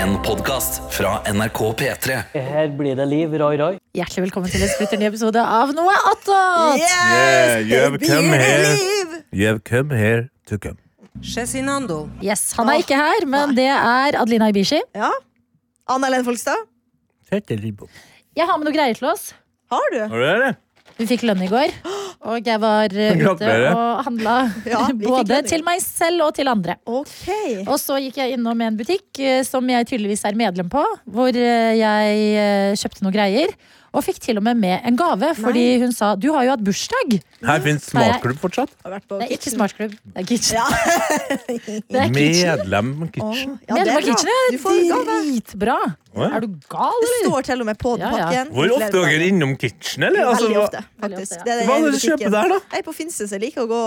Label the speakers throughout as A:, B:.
A: En podcast fra NRK P3
B: Her blir det liv, rai, rai.
C: Hjertelig velkommen til en splitter ny episode av Noe attåt!
D: Yeah, you have
E: baby,
D: come
E: you
D: here.
E: leave.
D: You have come here to come.
E: Cezinando.
C: Yes, Han er ikke her, men det er Adelina Ibishi.
E: Ja. Anna Helen Folkstad.
C: Jeg har med noe greier til oss.
E: Har du?
D: Har du det?
C: Vi fikk lønn i går, og jeg var eh, ute
D: Gratulerer.
C: og handla
E: Ja, vi fikk
C: både
E: lønn i
C: til
E: går.
C: meg selv og til andre.
E: Ok.
C: Og så gikk jeg innom en butikk eh, som jeg tydeligvis er medlem på, hvor eh, jeg eh, kjøpte noen greier. Og fikk til og med med en gave, fordi hun sa 'du har jo hatt bursdag'.
D: Her fins smakklubb fortsatt.
E: Har vært på
C: Det er ikke
E: Kitchen.
C: smartklubb, det er kitchen.
E: Ja.
C: Det er kitchen.
D: Medlem
E: Å,
D: kitchen.
E: ja,
C: Medlem av
E: det er bra.
C: kitchen er
E: Du får gave.
C: dritbra.
D: Å, ja.
C: Er du gal,
E: Det
C: eller?
E: står til og med på
C: Ja, ja.
E: pakken.
D: Hvor ofte er dere innom kitchen, eller? Altså,
E: Veldig
D: hva-
E: ofte, faktisk.
C: Veldig ofte, ja.
E: Det er den
D: Hva er
E: ene
D: det du kjøper
E: butikken.
D: der, da?
E: Jeg er på Finnsnes. Jeg liker å gå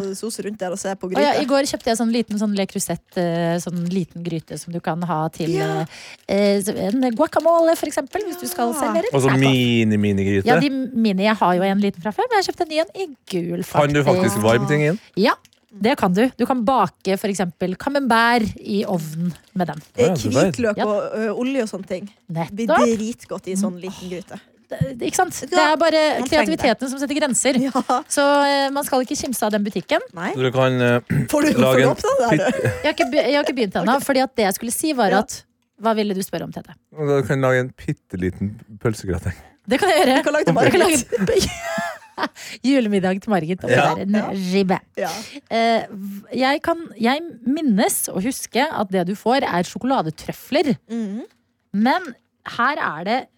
E: og sose rundt der og se på
C: Å ja, I
E: gryta.
C: går kjøpte jeg sånn liten sånn lekrusett, eh, sånn liten gryte som du kan ha til
E: Ja.
C: eh, eh, en guacamole, for eksempel, hvis du skal
E: Ja.
C: servere.
D: Altså
C: Nei, Ja,
D: mini-minigryte?
C: de mine, Jeg har jo en liten fra før, men jeg kjøpte en ny en i gul.
D: Kan du faktisk varme ting inn?
C: Ja, det kan du. Du kan bake f.eks. camembert i ovnen med den.
E: Det er
D: Å, ja, det er
E: Hvitløk
C: Ja.
E: og ø, olje og sånne ting. Blir
C: Nettopp. Mm.
E: dritgodt i sånn liten gryte.
C: Det- Eh, Ikke sant? Det er bare
E: Man trenger det.
C: kreativiteten som setter grenser.
E: Ja.
C: Så eh, man skal ikke kimse av den butikken.
E: Nei.
D: Du kan eh,
E: Får du, får
D: lage
E: du
D: en
E: opp den der? du?
C: Jeg har ikke, be- jeg har ikke begynt ennå, fordi at det jeg skulle si, var
E: Ja.
C: at Hva ville du spørre om, Tete?
D: Du kan lage en bitte liten pølsegrateng.
C: Det kan jeg gjøre.
E: Hva lagde
C: Jeg kan
E: Margit?
C: lage julemiddag til Margit. Og
D: Ja.
C: det er en ribbe.
E: Ja.
C: Eh, jeg, kan, jeg minnes og huske at det du får, er sjokoladetrøfler.
E: Mhm.
C: Men her er det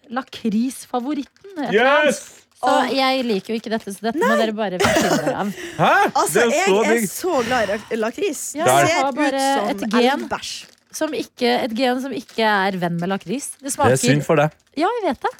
C: lakrisfavoritten. et eller annet.
D: Yes!
C: Så jeg liker jo ikke dette, så dette må dere bare finne dere av.
D: Hæ?
E: Altså,
D: det er
E: jeg
D: jo så
E: er
D: digg.
E: så glad i lak- lakris.
C: Ja,
E: det
D: jeg
E: ser
C: har bare
E: ut
C: et
E: som
C: gen.
E: elgbæsj.
C: Som ikke, et gen som ikke er venn med lakris. Det
D: Det
C: smaker
D: er synd for deg.
C: Ja, jeg vet det.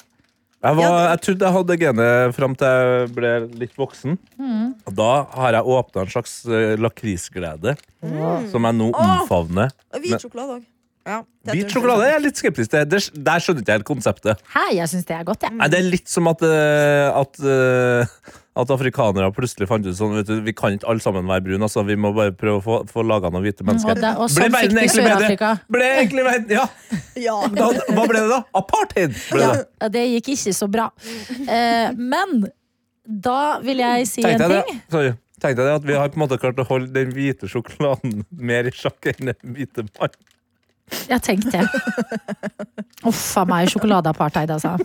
D: Jeg, var,
E: Ja,
D: jeg trodde jeg hadde genet fram til jeg ble litt voksen.
E: Mm.
D: Og da har jeg åpna en slags eh, lakrisglede,
E: Mm.
D: som jeg nå omfavner.
E: Og
D: Men-
E: hvit sjokolade òg. Ja, det tror jeg
D: Hvit sjokolade jeg er litt skeptisk til. Der, der skjønner ikke jeg helt konseptet.
C: Hei, jeg syns det er godt, jeg.
D: Nei, det er litt som at, eh, at, eh, at afrikanere plutselig fant ut sånn vet du, Vi kan ikke alle sammen være brune, altså, vi må bare prøve å få, få laga noen hvite
C: Og,
D: mennesker.
C: det, og sånn fikk
D: verden
C: de
D: egentlig bedre?
C: Sør-Afrika.
D: Ble egentlig verden Ja!
E: Ja.
D: Da, hva ble det da? Apartheid! Ble det.
C: Ja, Det gikk ikke så bra. Eh, men da vil jeg si en
D: Tenkte jeg,
C: ting.
D: det, sorry, tenkte jeg det at vi har på en måte klart å holde den hvite sjokoladen mer i sjakk enn den hvite mannen.
C: Jeg tenkte det. Uff a meg, sjokoladeapartheid, altså.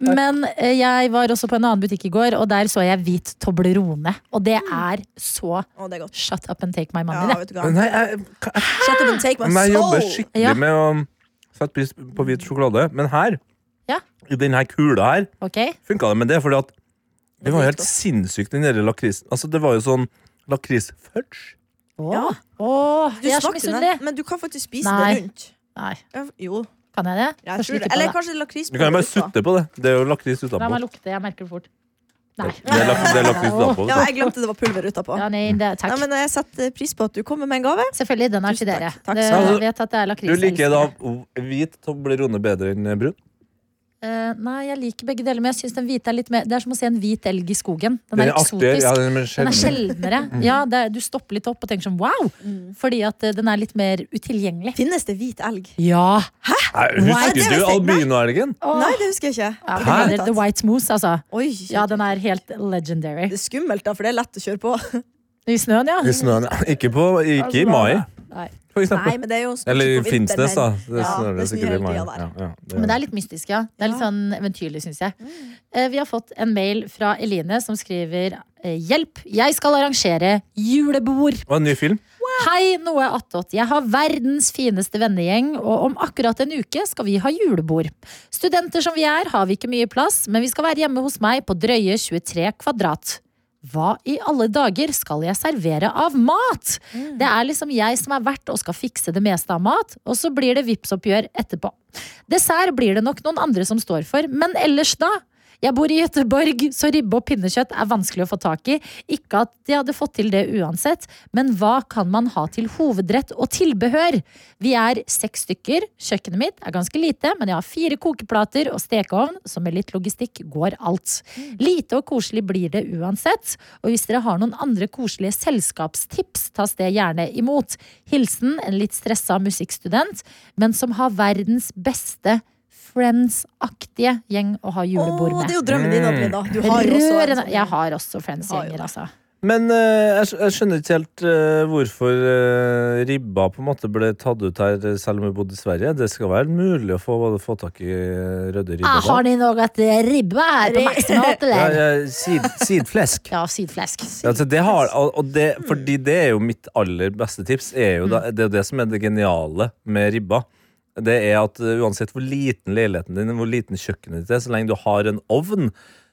C: Men eh, jeg var også på en annen butikk i går, og der så jeg hvit Toblerone. Og det er så
E: Å, det er godt.
C: shut up and take my
E: Ja,
C: money, det.
E: vet du hva.
D: Nei, jeg, jeg,
E: Shut up and take my
D: Men jeg
E: soul.
D: jobber
C: Ja.
D: skikkelig med å sette pris på hvit sjokolade. Men her,
C: Ja.
D: i denne kula her,
C: Ok?
D: funka det. Men det er fordi at det var jo helt
E: godt.
D: sinnssykt, den der lakrisen. Altså, det var jo sånn lakrisfudge.
C: Åh,
E: Ja.
C: åh,
E: Du
C: jeg er så
E: smakte den,
C: misunnelig.
E: men du kan faktisk spise
C: Nei.
E: det rundt.
C: Nei,
E: Ja, Jo,
C: kan jeg det? Kanskje
E: jeg tror det.
C: ikke på
E: Eller
C: det.
E: kanskje lakris
D: Du kan jo bare
E: produkter.
D: sutte på det. Det er jo lakris
C: La
D: utapå.
C: meg lukte, jeg merker det fort. Nei.
D: Det det er lak- det er lakris utapå.
E: Ja,
D: vet du.
E: jeg glemte det var pulver utapå.
C: Ja, nei det,
E: Nei,
C: takk.
E: men jeg setter pris på at du kommer med en gave.
C: Selvfølgelig, den er til
E: Tusen
C: dere.
E: takk. Takk
C: Det-
E: skal
D: du ha.
C: Jeg vet at det er lakris.
D: Du liker
C: jeg
D: da
C: elsker det.
D: hvit Toblerone bedre enn brun?
C: Eh, nei, jeg liker begge deler, men jeg synes den hvite er litt mer Det er som å se en hvit elg i skogen. Den
D: Den
C: er
D: er artigere.
C: eksotisk.
D: Ja, Mm. den er
C: Den er
D: sjelden.
C: sjeldnere. Ja, det er, du stopper litt opp og tenker sånn wow! Fordi at eh, den er litt mer utilgjengelig.
E: Finnes det hvit elg?
C: Ja!
D: Nei,
C: Nei,
E: det
D: Husker
E: visste
D: du
E: jeg-
D: albinoelgen?
C: Åh.
E: Nei, det husker jeg ikke.
C: ja
D: Hæ?
C: den heter The White Moose, altså.
E: Oi,
C: Ja, den er helt legendary.
E: Det er skummelt, da, for det er lett å kjøre på.
C: I snøen, ja.
D: I snøen, ja. Ikke, på, ikke i mai,
C: Altså, Nei.
D: for eksempel.
E: Nei, men det er jo en
D: Eller i
E: på vinteren,
D: Finnsnes, da.
E: men-
D: Det
E: Ja,
D: snør
E: det
D: det
E: snør
D: sikkert i
E: hele
D: mai.
E: tida
D: Ja,
E: der.
D: ja,
C: Men det er litt mystisk, ja. Det er litt sånn eventyrlig, syns jeg. Eh, Vi har fått en mail fra Eline som skriver eh, Hjelp! Jeg skal arrangere julebord!
D: Og en ny film.
C: Hei, Noe attåt. Jeg har verdens fineste vennegjeng, og om akkurat en uke skal vi ha julebord. Studenter som vi er, har vi ikke mye plass, men vi skal være hjemme hos meg på drøye 23 kvadrat. Hva i alle dager skal jeg servere av mat? Det er liksom jeg som er vert og skal fikse det meste av mat, og så blir det vippsoppgjør etterpå. Dessert blir det nok noen andre som står for, men ellers da? Jeg bor i Gøteborg, så ribbe og pinnekjøtt er vanskelig å få tak i. Ikke at de hadde fått til det uansett, men hva kan man ha til hovedrett og tilbehør? Vi er seks stykker. Kjøkkenet mitt er ganske lite, men jeg har fire kokeplater og stekeovn, så med litt logistikk går alt.
E: Mm.
C: Lite og koselig blir det uansett. Og hvis dere har noen andre koselige selskapstips, tas det gjerne imot. Hilsen en litt stressa musikkstudent, men som har verdens beste Friends-aktige gjeng å ha julebord
E: Å,
C: med.
E: det er jo drømmen din, Adelina. Du har også en
C: Rørende.
E: sånn.
C: Jeg har også
E: Har jo
C: Friends-gjenger,
E: det.
C: altså.
D: Men eh, jeg, skj- jeg skjønner ikke helt eh, hvorfor eh, ribba på en måte ble tatt ut her, eh, selv om vi bodde i Sverige. Det skal være mulig å få, få tak i eh, røde ribba.
C: Ah,
D: da.
C: har de noe til ribbe her på Maximat,
D: ja,
C: eller?
D: ja, sid, sidflesk.
C: Ja, sidflesk.
D: Ja, altså det har, og og det, fordi det er jo mitt aller beste tips. Er jo da,
C: Mm.
D: det er jo det som er det geniale med ribba. Det er at uh, Uansett hvor liten leiligheten din hvor liten kjøkkenet ditt er, så lenge du har en ovn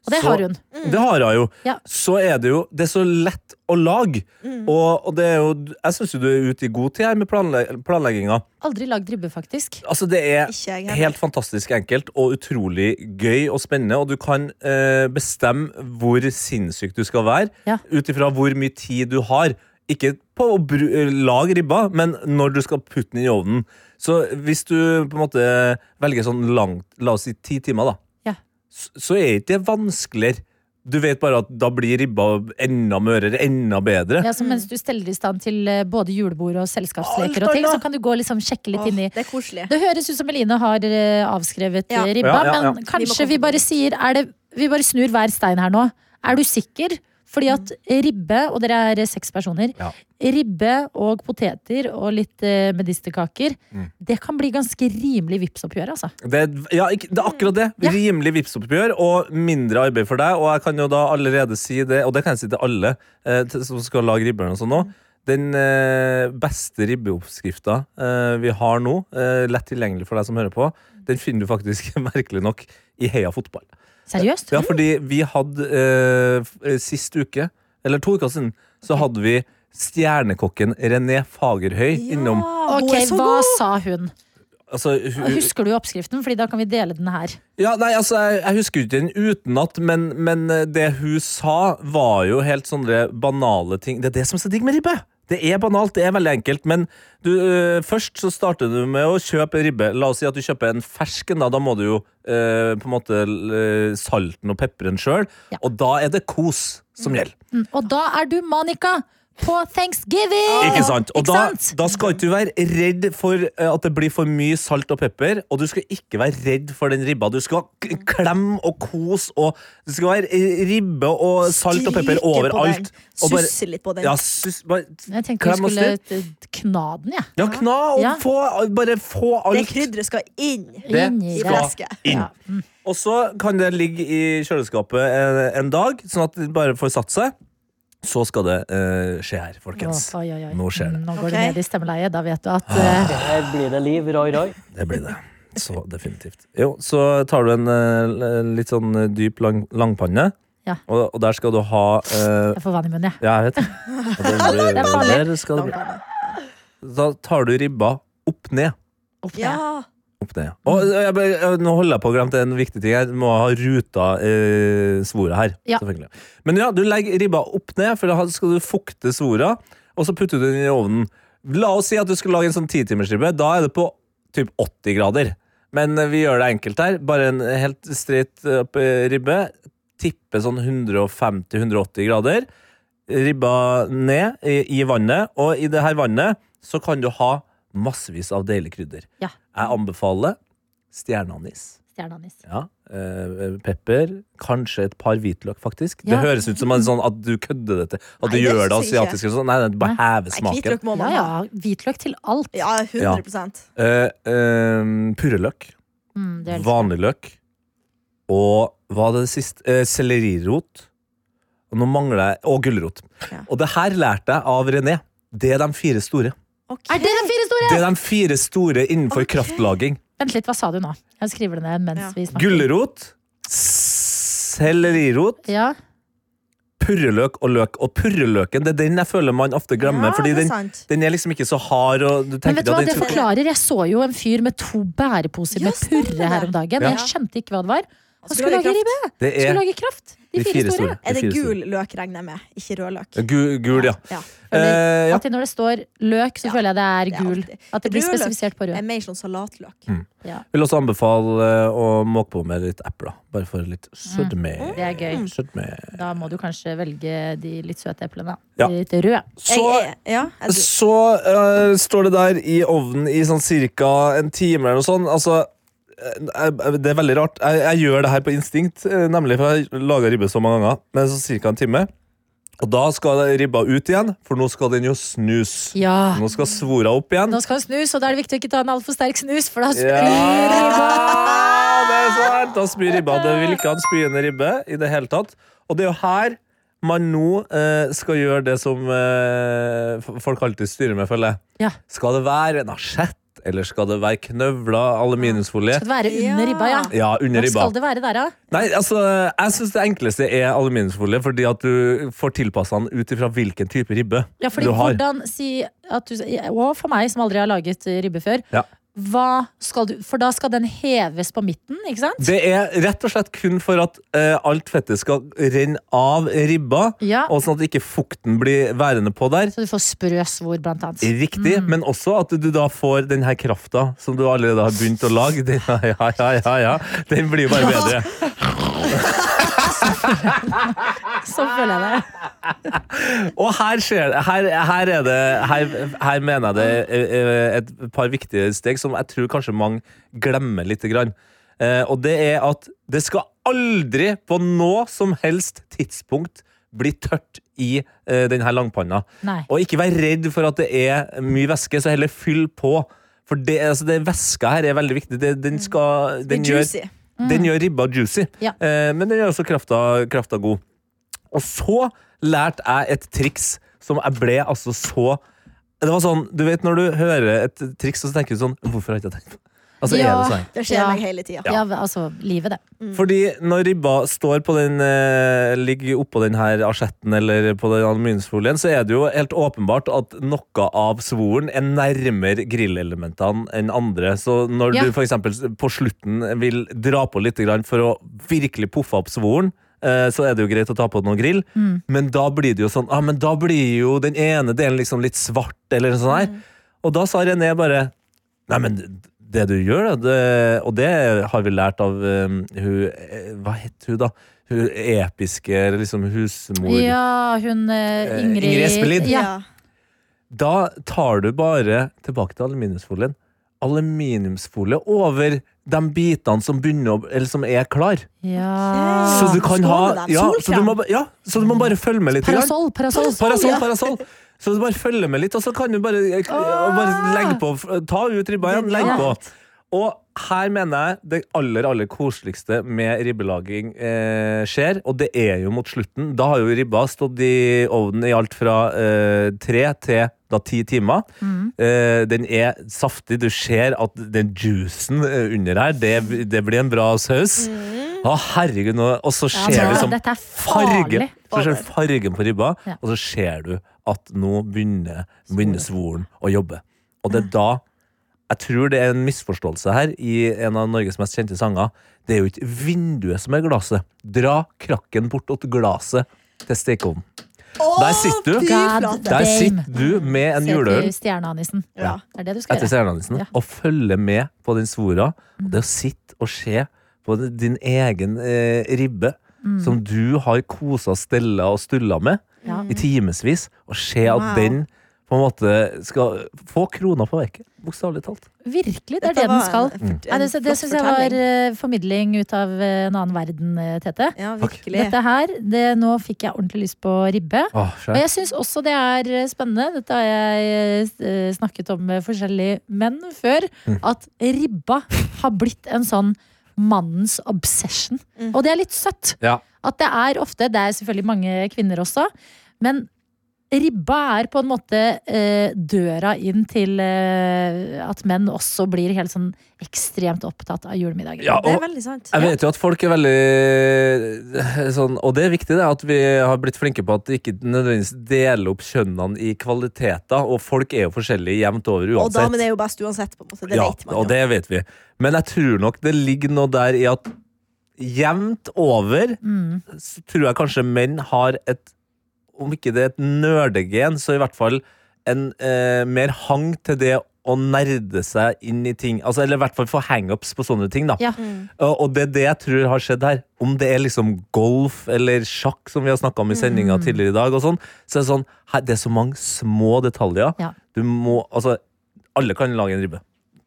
C: Og det
D: så- Mm.
C: har hun.
D: Det har hun jo.
C: Ja. Mm.
D: Så er det jo Det er så lett å lage. Og, og det er jo Jeg syns jo du er ute i god tid her med planle, planlegginga.
C: Aldri lagd ribbe, faktisk.
D: Altså, det er
E: Ikke jeg heller.
D: helt fantastisk enkelt og utrolig gøy og spennende. Og du kan eh, bestemme hvor sinnssyk du skal være,
C: Ja.
D: ut ifra hvor mye tid du har. Ikke på å bru eh, lage ribba, men når du skal putte den i ovnen. Så hvis du på en måte velger sånn langt, la oss si ti timer, da,
C: Ja.
D: s- så er ikke det vanskeligere. Du vet bare at da blir ribba enda mørere, enda bedre.
C: Ja, så mens du steller i stand til eh, både julebord og selskapsleker og ting, så kan du gå og liksom sjekke litt
E: Åh,
C: inn i
E: Det er koselig.
C: Det høres ut som Eline har eh, avskrevet
E: Ja.
C: eh, ribba,
D: Ja, ja, ja.
C: men
E: Vi må
C: kanskje
E: komme
C: vi
E: på
C: bare
E: det.
C: sier er det, Vi bare snur hver stein her nå. Er du sikker? Fordi at ribbe, og dere er eh, seks personer,
D: Ja.
C: ribbe og poteter og litt eh, medisterkaker,
D: Mm.
C: det kan bli ganske rimelig vipsoppgjør, altså.
D: Det er, ja, ikke, det er akkurat det.
C: Ja.
D: Rimelig Vipps-oppgjør og mindre arbeid for deg. Og jeg kan jo da allerede si det, og det kan jeg si til alle eh, til, som skal lage ribber og sånn nå. Den eh, beste ribbeoppskrifta eh, vi har nå, eh, lett tilgjengelig for deg som hører på, den finner du faktisk merkelig nok i Heia fotball.
C: Seriøst?
D: Ja, fordi vi hadde eh, f- eh, sist uke, eller to uker siden, så hadde vi stjernekokken René Fagerhøy innom.
E: Ja, hun
C: Ok,
E: er så
C: hva
E: god.
C: sa hun?
D: Altså,
C: Og
D: hu,
C: Husker du oppskriften? Fordi da kan vi dele den her.
D: Ja, nei, altså, jeg, jeg husker jo ikke den utenat, men, men eh, det hun sa, var jo helt sånne banale ting. Det er det som er så digg med ribbe! Det er banalt, det er veldig enkelt, men du, eh, først så starter du med å kjøpe ribbe. La oss si at du kjøper en fersken, da, da må du jo eh, på en måte eh, salte den og pepre den sjøl.
C: Ja.
D: Og da er det kos som gjelder.
C: Mm, Og da er du Monica på Thanksgiving!
D: Ah. Ikke sant? Og
C: Ikke
D: da,
C: sant?
D: da skal ikke du være redd for eh, at det blir for mye salt og pepper, og du skal ikke være redd for den ribba. Du skal k- klemme og kose, og det skal være eh, ribbe og salt og pepper
E: Stryke på den.
D: overalt. Og bare,
E: Susse litt på den.
D: ja, sus, bare
C: Jeg tenkte vi
D: klem og
C: skulle
D: styr.
C: eh, kna den, jeg.
D: Ja, kna og
C: Ja.
D: få Bare få
E: Det
D: alt.
E: krydderet skal inn
D: Det
C: Inni
E: i
C: der.
D: skal
E: fleske.
D: inn.
C: Ja.
D: Og så kan det ligge i kjøleskapet en, en dag, sånn at det bare får satt seg. Så skal det eh, skje her, folkens.
C: Å, oi, oi, oi.
D: Nå skjer det. Ah.
C: Mm, Nå går
E: Ok.
C: det ned i stemmeleiet. Da vet du at eh,
B: Her blir det liv, roi, roi.
D: Det blir det. Så definitivt. Jo, så tar du en eh, l- litt sånn eh, dyp lang, langpanne,
C: Ja.
D: og, og der skal du ha eh,
C: Jeg får vann i munnen, jeg.
D: Ja, jeg vet det. Og det blir-
C: Det er farlig.
D: der skal det bli. Da tar du ribba opp ned.
C: Opp ned.
E: Ja.
D: Opp ned. ja. Og eh, jeg, bare- eh, nå holder jeg på å glemme en viktig ting. Jeg må ha ruta eh, svoret her.
C: Ja.
D: selvfølgelig. Men ja, du legger ribba opp ned, for da skal du fukte svora, og så putter du den i ovnen. La oss si at du skal lage en sånn 10-timersribbe. Da er det på typ 80 grader. Men eh, vi gjør det enkelt her. Bare en helt streit opp eh, ribbe. Tippe sånn 150-180 grader. Ribba ned i, i vannet, og i det her vannet så kan du ha massevis av deilige krydder.
C: Ja.
D: Jeg anbefaler stjerneanis.
C: Stjerneanis.
D: Ja, eh, pepper, kanskje et par hvitløk, faktisk.
C: Ja.
D: Det høres ut som en sånn at du kødder dette. At du
E: Nei, det
D: gjør det
E: synes jeg ikke.
D: asiatisk. eller sånn. Nei, nei, du bare hever
E: Nei,
D: smaken.
E: hvitløk må
C: Ja
E: man
C: ja.
E: ha.
C: Hvitløk til alt.
E: Ja, 100
D: Eh, eh, Purreløk,
C: Mm, det er litt-
D: vanlig løk og hva er det siste? Eh, sellerirot. Og nå mangler jeg Og gulrot.
E: Ja.
D: Og det her lærte jeg av René. Det er de fire store.
E: Ok.
C: Er det den fire store?
D: Det er de fire store innenfor
E: Ok.
D: kraftlaging.
C: Vent litt, hva sa du nå? Jeg skriver det ned mens
E: Ja.
C: vi snakker.
D: Gulrot, sellerirot
C: Ja.
D: purreløk og løk. Og purreløken det er den jeg føler man ofte glemmer.
E: Ja,
D: fordi
E: det er
D: den,
E: sant.
D: den er liksom ikke så hard. Og du
C: Men
D: tenker
C: vet du hva,
D: at
C: det
D: den,
E: tror jeg-
C: forklarer. Jeg så jo en fyr med to bæreposer
E: Ja,
C: med
E: stemmer
C: purre her om
E: det.
C: dagen.
D: Ja.
C: Jeg skjønte ikke hva det var. Han skulle lage ribbe!
D: Det
C: Skulle
D: er
C: lage kraft. De fire store.
E: Er det
D: De fire store.
E: gul løk regner jeg med, ikke rød løk?
D: Gu- Gul, ja.
E: Ja.
D: Eh, ja.
C: Alltid når det står løk, så
E: Ja,
C: føler jeg det
E: det er
C: er gul.
E: alltid.
C: At det blir
E: Rød løk.
C: spesifisert på
E: Det
C: rød.
E: er mer sånn salatløk.
D: Mm. Vil også anbefale eh, å måke på med litt epler. Bare for litt sødme.
C: Det er gøy.
D: sødme.
C: Da må du kanskje velge de litt søte eplene.
D: Ja.
C: De litt røde.
D: Så,
E: Jeg, er- ja, jeg,
D: så eh, står det der i ovnen i sånn cirka en time eller noe sånt. Altså, eh, jeg- det er veldig rart. Jeg, jeg gjør det her på instinkt, eh, nemlig for jeg lager ribbe så mange ganger. Men så cirka en time. Og da skal ribba ut igjen, for nå skal den jo snus.
C: Ja.
D: Nå skal svora opp igjen.
C: Nå skal han snus, og da er det viktig å ikke ta en altfor sterk snus, for da spyr
D: Ja, det er sant! Han spyr ribba. Det vil ikke ha en spyende ribbe i det hele tatt. Og det er jo her man nå eh, skal gjøre det som eh, f- folk alltid styrer med, føler jeg.
C: Ja.
D: Skal det være nasjett, eller skal det være knøvla aluminiumsfolie?
C: Skal det være under
E: Ja.
C: ribba, ja.
D: Ja, under
C: Hva
D: ribba.
C: skal det være der, da?
D: Nei, altså, jeg syns det enkleste er aluminiumsfolie, fordi at du får tilpassa den ut ifra hvilken type ribbe
C: Ja, fordi
D: du har.
C: hvordan si at du, Og for meg som aldri har laget eh, ribbe før.
D: Ja.
C: Hva skal du, for da skal den heves på midten, ikke sant?
D: Det er rett og slett kun for at eh, alt fettet skal renne av ribba,
C: Ja.
D: og sånn at ikke fukten blir værende på der.
C: Så du får sprø svor, blant annet.
D: Riktig, men også at du da får den her krafta som du allerede har begynt å lage. Den, ja, ja, ja, ja. Den blir bare bedre.
C: Så føler jeg det.
D: Og her skjer det. Her, her er det her, her mener jeg det er- er et par viktige steg som jeg tror kanskje mange glemmer lite grann. Eh, og det er at det skal aldri på noe som helst tidspunkt bli tørt i eh, den her langpanna.
C: Nei.
D: Og ikke vær redd for at det er mye væske, så heller fyll på. For det, altså det væska her er veldig viktig. Det, den, skal, den, gjør,
E: juicy.
D: den gjør ribba juicy,
C: Mm. Ja.
D: eh, men den gjør også krafta, krafta god. Og så lærte jeg et triks som jeg ble altså så Det var sånn, Du vet når du hører et triks, og så tenker du sånn Hvorfor har jeg ikke tenkt på det? Altså, er
C: Ja.
D: det sånn?
E: Det skjer
C: Ja.
E: meg hele tida.
C: Ja, altså, livet, det.
D: Fordi når ribba står på den eh, ligger oppå den her asjetten eller på den aluminiumsfolien, så er det jo helt åpenbart at noe av svoren er nærmere grillelementene enn andre. Så når
C: Ja.
D: du for eksempel på slutten vil dra på litt grann for å virkelig puffe opp svoren, eh, så er det jo greit å ta på noe grill, men da blir det jo sånn ah, men da blir jo den ene delen liksom litt svart, eller sånn her. Og da sa René bare Nei, men det du gjør, da, det, og det har vi lært av um, hun eh, Hva het hun, da? Hun episke eller liksom husmor.
C: Ja, hun eh,
D: Eh,
C: Ingrid
D: Ingrid Espelid.
C: Ja.
D: Da tar du bare tilbake til aluminiumsfolien. Aluminiumsfolie over de bitene som begynner å Eller som er klar.
C: ja.
D: Så du
E: Skål
D: kan ha
E: med dem.
D: ja, så, du må, ba- ja, så du må bare følge med litt. grann.
C: Parasoll, parasoll.
D: Parasoll,
C: ja.
D: parasoll. Så du bare følger med litt, og så kan du bare, og bare legge på. Ta ut ribba igjen, legg på. Og her mener jeg det aller aller koseligste med ribbelaging eh, skjer, og det er jo mot slutten. Da har jo ribba stått i ovnen i alt fra eh, tre til da ti timer. Eh, den er saftig. Du ser at den juicen eh, under her, det, det blir en bra saus. Å, herregud, nå, og så
C: Ja,
D: ser
C: nå-
D: du som
C: Dette er
D: farge,
C: farlig.
D: så ser du fargen på ribba,
C: Ja.
D: og så ser du at nå begynner, begynner svoren å jobbe. Og det er da Jeg tror det er en misforståelse her i en av Norges mest kjente sanger. Det er jo ikke vinduet som er glasset. Dra krakken bortåt glaset til stekeovnen. Der sitter du.
C: God
D: Der
C: damn.
D: sitter du med en juleøl
C: Se til Stjerneanisen.
E: Ja.
C: Det er det du skal
D: etter
C: gjøre.
D: Stjerneanisen
C: Ja.
D: og følge med på den svora.
E: Mm.
D: Og det å sitte og se på din egen eh, ribbe,
E: Mm.
D: som du har kosa, stella og stulla med
C: Ja.
D: i timevis, og se at
E: Wow.
D: den på en måte skal få krona på verket. Bokstavelig talt.
C: Virkelig, det er
E: Dette
C: det
E: var
C: den skal.
E: en- en
C: Nei, det
E: flott
C: det syns jeg var
E: fortelling.
C: eh, formidling ut av eh, en annen verden, eh, Tete.
E: Ja,
D: Takk.
E: virkelig.
C: Dette her, det, Nå fikk jeg ordentlig lyst på ribbe.
D: Åh,
C: Og
D: skjønt.
C: jeg syns også det er eh, spennende, dette har jeg eh, snakket om med forskjellige menn før,
D: Mm.
C: at ribba har blitt en sånn mannens obsession. Og det er litt søtt.
D: Ja.
C: At det er ofte, det er selvfølgelig mange kvinner også, men ribba er på en måte eh, døra inn til eh, at menn også blir helt sånn ekstremt opptatt av julemiddager.
D: Ja,
E: Det
D: og
E: er veldig sant.
D: Jeg vet jo at folk er veldig eh, sånn, og det er viktig det, at vi har blitt flinke på at de ikke nødvendigvis deler opp kjønnene i kvaliteter, og folk er jo forskjellige jevnt over
E: Og
D: uansett.
E: damen er jo best uansett, på en måte. Det
D: ja,
E: vet man jo.
D: og det vet vi. Men jeg tror nok det ligger noe der i at jevnt over
C: Mm.
D: så tror jeg kanskje menn har et Om ikke det er et nerdegen, så i hvert fall en eh, mer hang til det å nerde seg inn i ting. Altså, eller i hvert fall få hangups på sånne ting. da.
C: Ja.
E: Mm.
D: Og og det er det jeg tror har skjedd her. Om det er liksom golf eller sjakk, som vi har snakka om i sendinga tidligere i dag, og sånn, så er det sånn her, Det er så mange små detaljer.
C: Ja.
D: Du må Altså, alle kan lage en ribbe.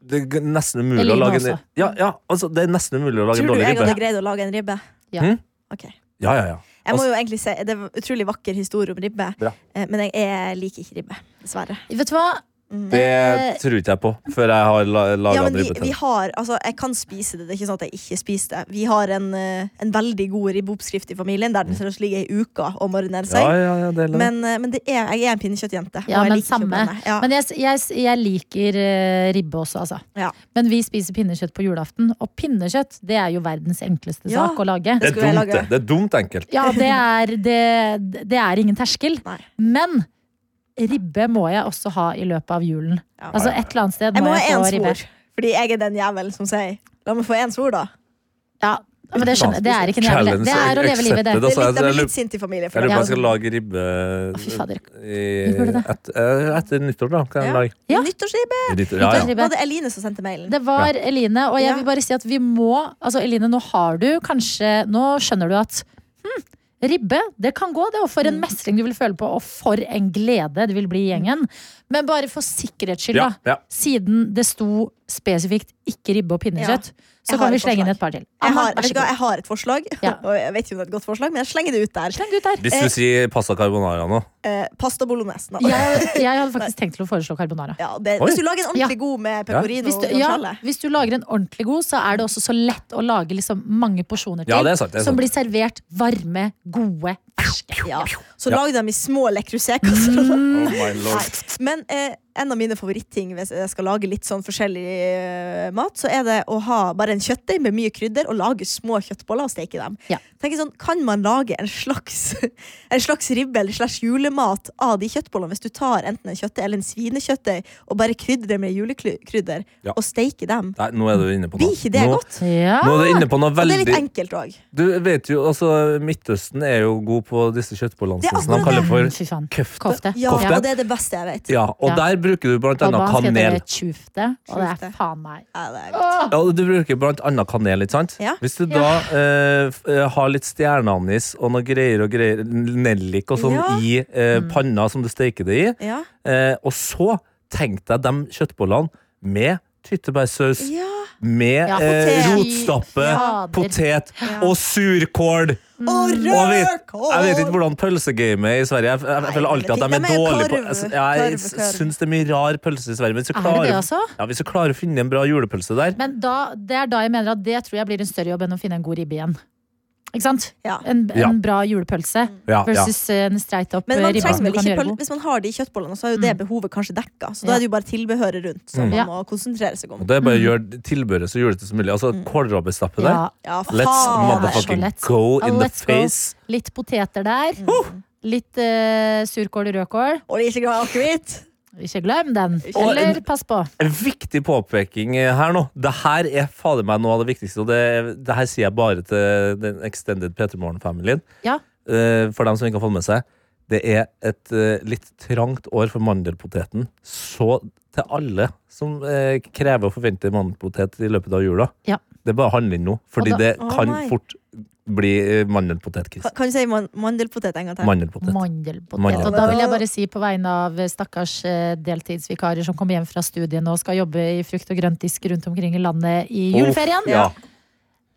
D: Det er g- nesten umulig å
C: limer
D: lage en
C: også.
D: Ja, ja, altså, det er nesten umulig å lage en
E: Tror du
D: dårlig
E: jeg hadde
D: ribbe.
E: greid å lage en ribbe?
C: Ja.
D: Hm?
E: Ok.
D: Ja, ja, ja.
E: Jeg må
D: Altså-
E: jo egentlig si, Det er en utrolig vakker historie om ribbe,
D: Bra.
E: eh, men jeg, jeg liker ikke ribbe. Dessverre.
C: Vet du hva? Eh,
D: Det tror ikke jeg på før jeg har la- laga
E: Ja, men
D: en
E: vi,
D: ribbe til.
E: vi har, altså, jeg kan spise det. Det er ikke sånn at jeg ikke spiser det. Vi har en, eh, en veldig god ribbeoppskrift i familien der den seriøst ligger ei uke og marinerer
D: Hm. Ja,
E: seg.
D: ja, ja, det er det.
E: Men, eh, men det er, jeg er en pinnekjøttjente.
C: Ja,
E: og jeg
C: men
E: liker
C: samme.
E: kjøttbønner. Ja.
C: Men jeg, jeg, jeg liker eh, ribbe også, altså.
E: Ja.
C: Men vi spiser pinnekjøtt på julaften, og pinnekjøtt det er jo verdens enkleste
E: Ja.
C: sak å lage.
D: det er
E: skulle jeg
D: dumt,
E: lage.
D: det. Det er dumt enkelt.
C: Ja, det er, det, det er ingen terskel.
E: Nei.
C: Men ribbe må jeg også ha i løpet av julen.
E: Ja.
C: Altså et eller annet sted
E: Jeg
C: må
E: må
C: jeg,
E: ha én
C: få ribbe.
E: svor, fordi jeg er den jævelen som sier La meg få én svor, da.
C: Ja, men det skjønner jeg. Det er ikke en jævel.
D: Challenge
C: Det er å leve livet, det.
D: accepted,
E: Det
D: altså.
E: er litt,
D: Jeg-
E: de
D: jeg
E: er
D: lurer-
E: litt sinte i familien.
D: Jeg lurer på om jeg skal
C: Ja.
D: lage ribbe
C: Fy fader.
D: i-
C: Vi burde det.
D: et- eh, etter nyttår, da. Kan jeg
E: Ja.
D: lage
C: Ja.
E: Nyttårsribbe!
D: ribbe? Ja, ja.
E: Det var det Eline som sendte mailen.
C: Det var Eline, og jeg
E: Ja.
C: vil bare si at vi må Altså Eline, nå har du kanskje Nå skjønner du at hm, ribbe, det kan gå, det. Og for
E: Mm.
C: en mestring du vil føle på, og for en glede det vil bli i gjengen. Men bare for sikkerhets skyld,
D: Ja,
C: da.
D: ja.
C: Siden det sto spesifikt ikke ribbe og pinnekjøtt, så
E: Jeg har
C: kan vi
E: et
C: slenge inn
E: forslag.
C: et par til.
E: Jeg
C: Anna,
E: har,
C: vær
E: vet
C: så
E: du hva,
C: god.
E: jeg har et forslag,
C: Ja.
E: og jeg vet jo om det er et godt forslag, men jeg slenger det ut der.
C: Sleng ut der.
D: Hvis du sier pasta carbonara nå
E: Eh, pasta bolognese. da.
C: Jeg, jeg hadde faktisk tenkt til å foreslå carbonara.
E: Ja, det,
D: Oi.
E: hvis du lager en ordentlig god med pecorino
C: Hvis du,
E: og
C: ja,
E: guanciale.
C: hvis du lager en ordentlig god, så er det også så lett å lage liksom mange porsjoner til.
D: Ja, det er sant, det er
C: som
D: sant.
C: blir servert varme, gode, ferske.
E: Ja. Så lag dem i små Le Creuset-kasser.
C: Mm.
D: Oh my lord.
E: Nei. Men eh, en av mine favoritting hvis jeg skal lage litt sånn forskjellig eh, mat, så er det å ha bare en kjøttdeig med mye krydder og lage små kjøttboller og steke dem.
C: Ja.
E: Tenk sånn, Kan man lage en slags, en slags ribbe eller slash julemat av de kjøttbollene hvis du tar enten en kjøttdeig eller en svinekjøttdeig og bare krydrer det med julekrydder
D: Ja.
E: og steker dem?
D: Nei, nå er du inne på noe.
E: Blir ikke det
D: nå,
E: godt?
C: Ja.
D: Nå er du inne på noe
E: Og det er litt
D: veldig
E: enkelt òg.
D: Du vet jo, altså Midtøsten er jo god på disse
E: Det er
D: kjøttbollansene som
E: akkurat
D: de kaller for
C: Mm, Fy faen.
D: køfte.
C: Kofte.
E: Ja,
D: Kofte.
E: og det er det beste jeg vet.
D: Ja, og
C: Ja.
D: der bruker du blant annet
C: Albansk heter
D: kanel.
C: det tjufte, og det
E: Tjufte.
C: er faen meg
E: Ja, det er godt.
C: Åh!
D: Ja, du bruker blant annet kanel, ikke sant?
E: Ja.
D: Hvis du da eh, f- eh, har litt stjerneanis og noe greier og greier, nellik og sånn
E: Ja. Mm.
D: i eh, panna som du steker det i,
E: Ja.
D: eh, og så tenk deg de kjøttbollene med tyttebærsaus,
E: Ja.
D: med
C: Ja,
D: eh,
E: potet.
D: rotstappe,
C: Ja.
D: potet
E: Ja.
D: og surkål!
E: Og
D: Og jeg vet,
E: rødkål!
D: jeg vet ikke hvordan pølsegamet er i Sverige Jeg, jeg,
E: Nei,
D: jeg føler alltid at de
E: men
D: er
E: det er
D: dårlige på
E: korv,
D: altså, Jeg
E: korv, korv.
D: syns det er mye rar pølse i Sverige. Men hvis du
C: Er det
D: klarer,
C: det også?
D: Ja, hvis du klarer å finne en bra julepølse der
C: Men da, det er da jeg mener at det tror jeg blir en større jobb enn å finne en god ribbe igjen. Ikke sant?
E: Ja.
C: En, en
D: Ja.
C: bra julepølse
D: ja, ja.
C: versus eh, en streit opp
E: Men
C: eh,
E: man
C: ribbe
E: trenger
C: som du
E: vel
C: kan
E: ikke
C: gjøre
E: pøl
C: god.
E: Hvis man har de kjøttbollene, så er jo det behovet kanskje dekka. Så da
C: Ja.
E: er det jo bare tilbehøret rundt som
C: Ja.
E: man må konsentrere seg om.
D: Og det er bare å gjøre tilbehøret så julete som mulig. Altså kålrabbestappe der.
C: Ja,
E: Ja,
C: det
E: faen!
D: Let's
C: er så
D: motherfucking
C: lett.
D: go in the
C: Let's go.
D: face.
C: Litt poteter der.
E: Mm.
C: Litt eh, surkål og rødkål.
E: Og det er ikke glad i akevitt!
C: Ikke glem den.
E: Og
C: Eller pass på.
D: En viktig påpeking eh, her nå. Det her er fader meg noe av det viktigste, og det, det her sier jeg bare til den extended Peter Morgen-familien.
C: Ja.
D: Eh, For dem som ikke har fått med seg. Det er et eh, litt trangt år for mandelpoteten. Så til alle som eh, krever og forventer mandelpotet i løpet av jula.
C: Ja.
D: Det er bare å handle inn nå, fordi
C: Og da-
D: det
E: Å,
D: kan
E: nei.
D: fort bli eh,
E: Kan-
D: mandelpotetkrise.
E: Kan du si man mandelpotet en gang til?
D: Mandelpotet.
C: Mandelpotet.
D: Mandelpotet.
C: Og da vil jeg bare si på vegne av eh, stakkars eh, deltidsvikarer som kommer hjem fra studiene og skal jobbe i frukt- og grøntdisk rundt omkring i landet i juleferien.
D: Uff, ja.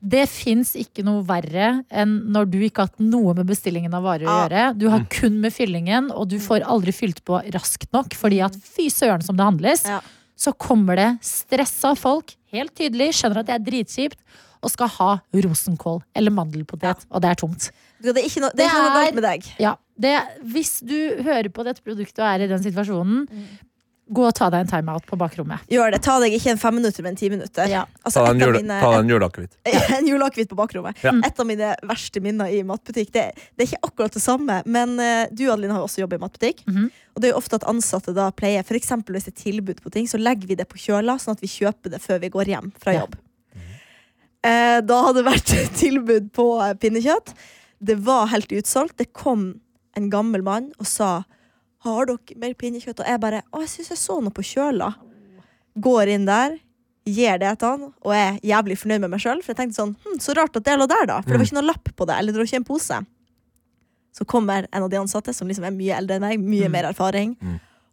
C: Det fins ikke noe verre enn når du ikke har hatt noe med bestillingen av varer å
E: Ja.
C: gjøre. Du har kun med fyllingen, og du får aldri fylt på raskt nok, fordi at fy søren som det handles.
E: Ja.
C: Så kommer det stressa folk, helt tydelig, skjønner at det er dritkjipt, og skal ha rosenkål eller mandelpotet, og det er tomt.
E: Det er ikke noe, det er ikke noe
C: Det er-
E: galt med deg.
C: Ja, det, Hvis du hører på dette produktet og er i den situasjonen, gå og ta deg en timeout på bakrommet.
E: Gjør det. Ta deg ikke en femminutter, men en timinutter.
C: Ja.
E: Altså,
D: Ta
E: et
D: deg en
E: av
D: jule-
E: mine-
D: ta deg en juleakevitt.
E: en juleakevitt på bakrommet.
D: Ja.
E: Et av mine verste minner i matbutikk. Det, det er ikke akkurat det samme, men eh, du Adeline, har jo også jobb i matbutikk. Og det er jo ofte at ansatte da pleier, for eksempel hvis det er tilbud på ting, så legger vi det på kjøla, sånn at vi kjøper det før vi går hjem fra
C: Ja.
E: jobb. Eh, da hadde det vært tilbud på eh, pinnekjøtt. Det var helt utsolgt. Det kom en gammel mann og sa Har dere mer pinnekjøtt? Og jeg bare Å, jeg syns jeg så noe på kjøla. Går inn der, gir det til han, og er jævlig fornøyd med meg sjøl. For jeg tenkte sånn hm, Så rart at det lå der, da. For det var
D: Mm.
E: ikke noe lapp på det. Eller det var ikke en pose. Så kommer en av de ansatte, som liksom er mye eldre enn meg,
D: Mm.
E: mye mer erfaring.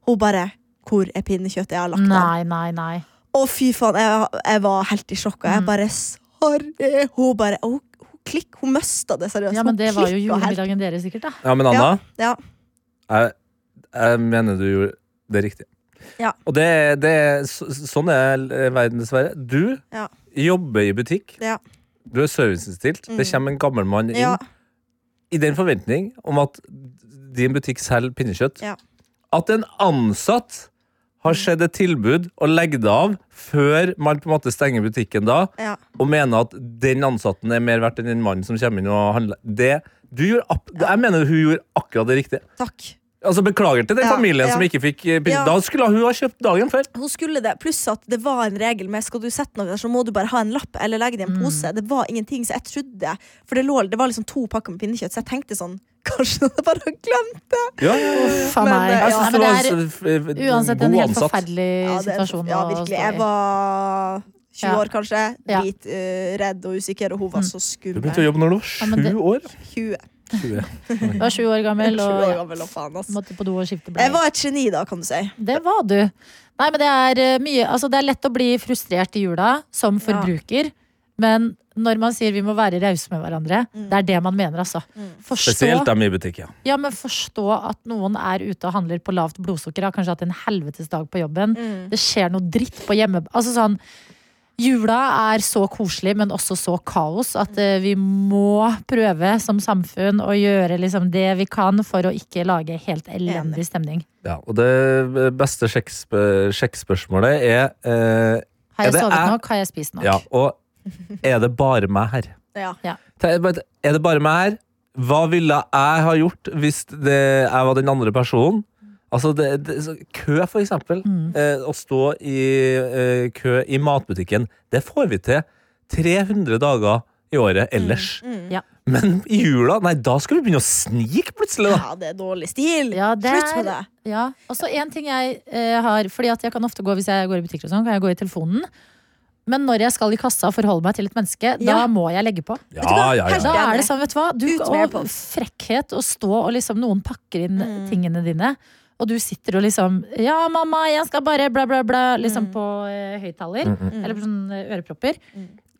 E: Hun bare Hvor er pinnekjøttet jeg har lagt av?
C: Nei, nei, nei.
E: Å, fy faen, jeg, jeg var helt i sjokk. Og
C: Mm.
E: jeg bare Sorry! Hun bare Hun, hun klikk, hun mista det seriøst.
C: Ja, men
E: Hun
C: det var jo
E: klikket helt.
C: julemiddagen deres, sikkert. da
D: Ja, men Anna,
E: Ja,
D: jeg, jeg mener du gjorde det riktig.
E: Ja.
D: Og det, det er så- Sånn er verden, dessverre. Du
E: Ja.
D: jobber i butikk.
E: Ja. Mm.
D: Du er serviceinnstilt. Det kommer en gammel mann inn
E: ja,
D: i den forventning om at din butikk selger pinnekjøtt.
E: Ja. Mm.
D: At en ansatt har sett et tilbud og legger det av før man på en måte stenger butikken da,
E: ja,
D: og mener at den ansatten er mer verdt enn den mannen som kommer inn og handler. Det, du gjorde app- Jeg mener hun gjorde akkurat det riktige.
E: takk.
D: Altså Beklager til den
E: Ja,
D: familien
E: ja.
D: som ikke fikk eh, pin-
E: Ja.
D: Da skulle hun ha kjøpt dagen før.
E: Hun skulle det, Pluss at det var en regel med skal du sette noe der, så må du bare ha en lapp eller legge det
C: Mm.
E: i en pose. Det var ingenting, så jeg trodde For det, lå, det var liksom to pakker med pinnekjøtt, så jeg tenkte sånn Kanskje noen bare har glemt det?
D: Ja, ja, ja.
C: Uff a
E: Men,
C: meg.
E: eh,
D: Jeg
E: ja.
C: Nei, men det
D: synes
C: er
D: det var en
C: uansett en
D: god
C: helt
D: ansatt.
C: forferdelig
E: Ja, det er-
C: situasjon
E: ja,
C: å stå
E: virkelig. Jeg
C: i.
E: var 20
C: Ja.
E: år, kanskje.
C: Ja. Mm.
E: Litt eh, redd og usikker, og hun var så
D: Du begynte å
E: skummel.
D: jobbe når du var
C: Ja, men det-
D: sju år.
E: 20.
C: Du var sju år gammel
E: 20
C: og
E: år
C: ja,
E: gammel, og faen, ass.
C: måtte på do og skifte bleie.
E: Jeg var et geni da, kan du si.
C: Det var du. Nei, men det er eh, mye Altså, det er lett å bli frustrert i jula som forbruker, men når man sier vi må være rause med hverandre,
E: Mm.
C: det er det man mener, altså. Forstå,
D: Spesielt dem i butikk, ja.
C: ja, men forstå at noen er ute og handler på lavt blodsukker, har kanskje hatt en helvetes dag på jobben.
E: Mm.
C: Det skjer noe dritt på hjemme... Altså sånn Jula er så koselig, men også så kaos, at eh, vi må prøve som samfunn å gjøre liksom det vi kan for å ikke lage helt elendig stemning.
D: Ja, og det beste sjekkspø- sjekkspørsmålet er eh,
C: Har
D: Ja,
C: jeg
D: det
C: sovet
D: er-
C: nok? Har jeg spist nok?
D: Ja, og er det bare meg her?
E: Ja.
D: Te- bare- Er det bare meg her? Hva ville jeg ha gjort hvis det, jeg var den andre personen? Altså, det, det, så kø, for eksempel. Eh, å stå i eh, kø i matbutikken, det får vi til 300 dager i året
E: Mm,
D: ellers.
C: Ja.
D: Men i jula, nei, da skal vi begynne å snike plutselig, da!
E: Ja, det er dårlig stil.
C: Ja, det
E: Slutt med det.
C: er- Ja, og så en ting jeg eh, har Fordi at jeg kan ofte gå hvis jeg går i butikker og sånn, kan jeg gå i telefonen. Men når jeg skal i kassa og forholde meg til et menneske, da
E: Ja.
C: må jeg legge på.
E: du hva? Helt
C: Da
E: enig.
C: er det sånn, vet du hva. Du,
E: Ut med Mm.
C: og
E: AirPods.
C: frekkhet å stå og liksom Noen pakker inn tingene dine, og du sitter og liksom Ja, mamma, jeg skal bare bla, bla, bla,
E: Mm.
C: liksom på eh, høyttaler. Eller på sånne ørepropper.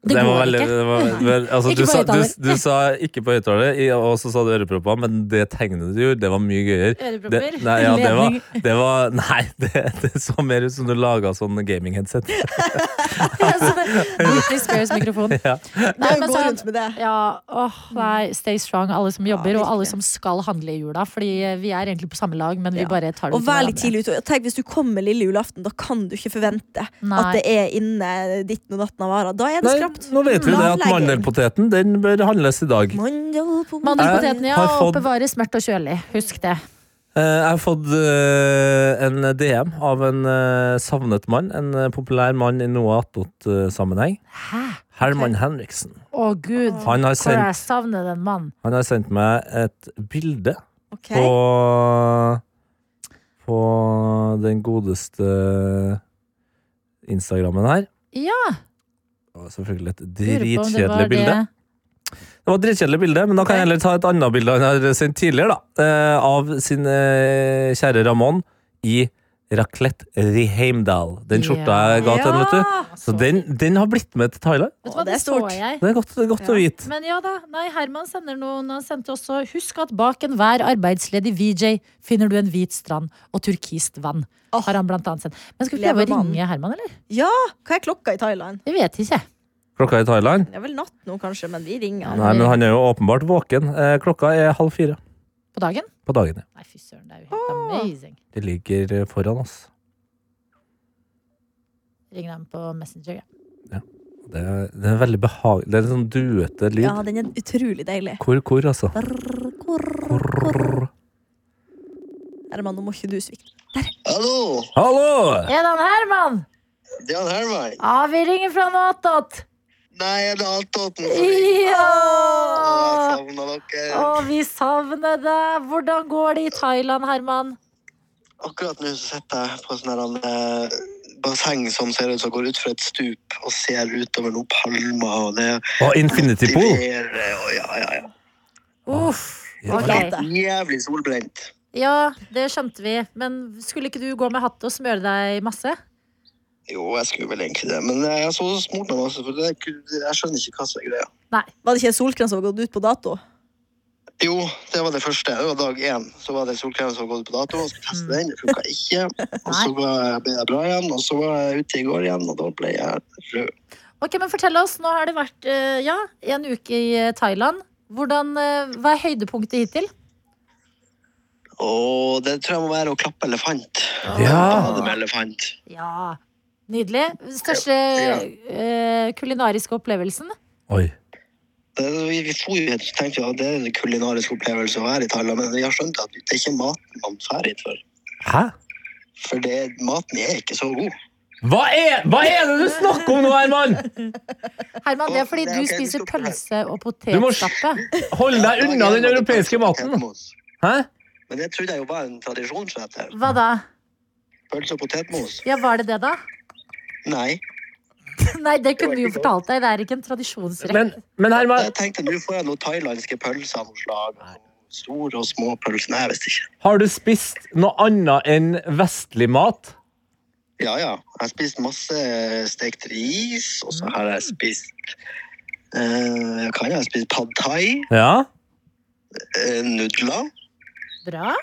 C: Det, går
D: var veldig-
C: ikke.
D: det var- vel, altså,
C: Ikke
D: du,
C: på
D: sa, du,
C: høyttaler.
D: du sa ikke på høyttaler, i- og så sa du ørepropper, men det tegnet du gjorde, det var mye gøyere.
C: Ørepropper?
D: Det, nei, ja, det var,
C: Ledning?
D: det var, nei, det, det så mer ut som du laga sånn gaming-headset.
C: Britney Spears mikrofon. Nei,
E: Gå
C: men sånn,
E: rundt med det.
C: Ja, åh, nei, stay strong, alle som jobber, og alle
E: virkelig.
C: som skal handle i jula. Fordi eh, vi er egentlig på samme lag, men vi
E: Ja.
C: bare tar det
E: Og
C: ut
E: vær
C: over
E: litt
C: hverandre.
E: tidlig ute. Og Tenk, hvis du kommer lille julaften, da kan du ikke forvente
C: Nei.
E: at det er inne ditten og datten av varer. Da er det
D: Nei,
E: skrapt.
D: nå vet vi det at mandelpoteten den bør handles i dag.
E: Mandelpotet.
C: Mandelpotetene, ja.
D: Jeg har fått-
C: Oppbevare smørt og kjølig. Husk det.
D: Eh, Jeg har fått eh, en DM av en eh, savnet mann. En eh, populær mann i noe attåt-sammenheng.
C: Hæ?
D: Herman Henriksen.
C: Å, gud.
D: Han har
C: Hvor
D: sendt,
C: jeg savner den mannen.
D: han har sendt meg et bilde
E: Ok.
D: på På den godeste Instagrammen her.
C: Ja,
D: Det var selvfølgelig et
C: lurer på om det var
D: dritkjedelig bilde.
C: det-
D: Det var et dritkjedelig bilde, men da kan jeg heller ta et annet bilde han har sendt tidligere, da. eh, Av sin eh, kjære Ramón i Raclette Reheimdal. Den skjorta jeg ga til han, vet du. Så den, den har blitt med til Thailand.
C: eh, Vet du
E: Å,
C: hva,
E: det er
C: det så
E: stort.
C: jeg.
D: Det er godt, det er godt å vite.
C: Men ja da, nei, Herman sender noen. Han sendte også Husk at bak enhver arbeidsledig VJ finner du en hvit strand og turkist vann. Har han blant annet sendt. Men skal vi prøve
E: Lever
C: å
E: mannen.
C: ringe Herman, eller?
E: Ja, hva er klokka i Thailand?
C: Vi vet ikke.
D: Klokka er i Thailand.
E: Det er vel natt nå, kanskje, men vi ringer.
D: Nei, men han er jo åpenbart våken. Eh, Klokka er halv fire
C: På dagen?
D: på dagen. ja.
C: Nei, fy søren, det er jo helt amazing.
D: Det ligger eh, foran oss.
C: Ringer ham på Messenger, ja.
D: Det er, det er veldig behagelig. Det er en sånn duete lyd.
E: Ja, den er utrolig deilig.
D: Hvor, hvor, altså.
E: Brr, korr, korr. Herman, nå må ikke du svikte.
F: Hallo!
D: Hallo!
C: Er det han Herman?
F: Det er han Herman.
C: Ja, vi ringer fra noe attåt.
F: Nei, jeg ble halvtåten.
C: Ja!
F: Savna dere.
C: Å, vi savner deg! Hvordan går det i Thailand, Herman?
F: Akkurat nå så sitter jeg på sånn her eh, basseng som ser ut som går ut fra et stup og ser utover noen palmer, og det er
D: Og Infinity Pool.
F: og ja, ja, ja.
C: Uff.
D: Ja.
C: ok.
F: Jævlig solbrent.
C: Ja, det skjønte vi. Men skulle ikke du gå med hatt og smøre deg masse?
F: Jo, jeg skulle vel egentlig det, men eh, jeg så smurt meg masse, for det, er ikke- jeg skjønner ikke hva som er greia.
E: Var det ikke en solkrem som var gått ut på dato?
F: Jo, det var det første. Det var dag én. Så var det solkrem som hadde gått på dato. Og skulle teste den, det funka ikke. Og så var jeg- ble jeg bra igjen, og så var jeg ute i går igjen, og da ble jeg rød.
C: Ok, men fortell oss, Nå har det vært eh, ja, en uke i eh, Thailand. Hvordan, eh, hva er høydepunktet hittil?
F: Og det tror jeg må være å klappe elefant.
D: Ja.
F: Bade med elefant.
C: Ja, Nydelig. Største
F: Ja.
C: eh, kulinariske opplevelsen?
D: Oi.
F: Det, vi, vi for jo hit, så tenkte vi at det er en kulinarisk opplevelse å være i Thailand, men vi har skjønt at det er ikke maten man drar hit for.
D: Hæ?
F: For det, maten er ikke så god.
D: Hva er, hva er det du snakker om nå, Herman?
C: Herman, det er
F: Å,
C: fordi du
F: det er ok, vi
C: spiser
F: stopper her.
C: pølse og
D: Du må
C: potetstappe.
D: Hold deg unna den
F: Ja,
D: europeiske
F: det er
D: maten.
F: potetmos.
D: Hæ?
F: Men det trodde jeg jo var en tradisjonsrett her.
C: Hva da?
F: Pølse og potetmos.
C: Ja, Var det det, da?
F: Nei.
C: Nei, det kunne vi jo fortalt deg. Det er ikke en tradisjonsrett.
D: Men, men Herman,
F: Jeg tenkte nå får jeg noen thailandske pølseanslag. Store og små pølser. Nei, jeg visste ikke.
D: har du spist noe annet enn vestlig mat?
F: Ja, ja. Jeg har spist masse stekt ris, og så har jeg spist eh, Hva har jeg spist? Pad thai,
D: Ja.
F: eh, nudler.
C: Bra.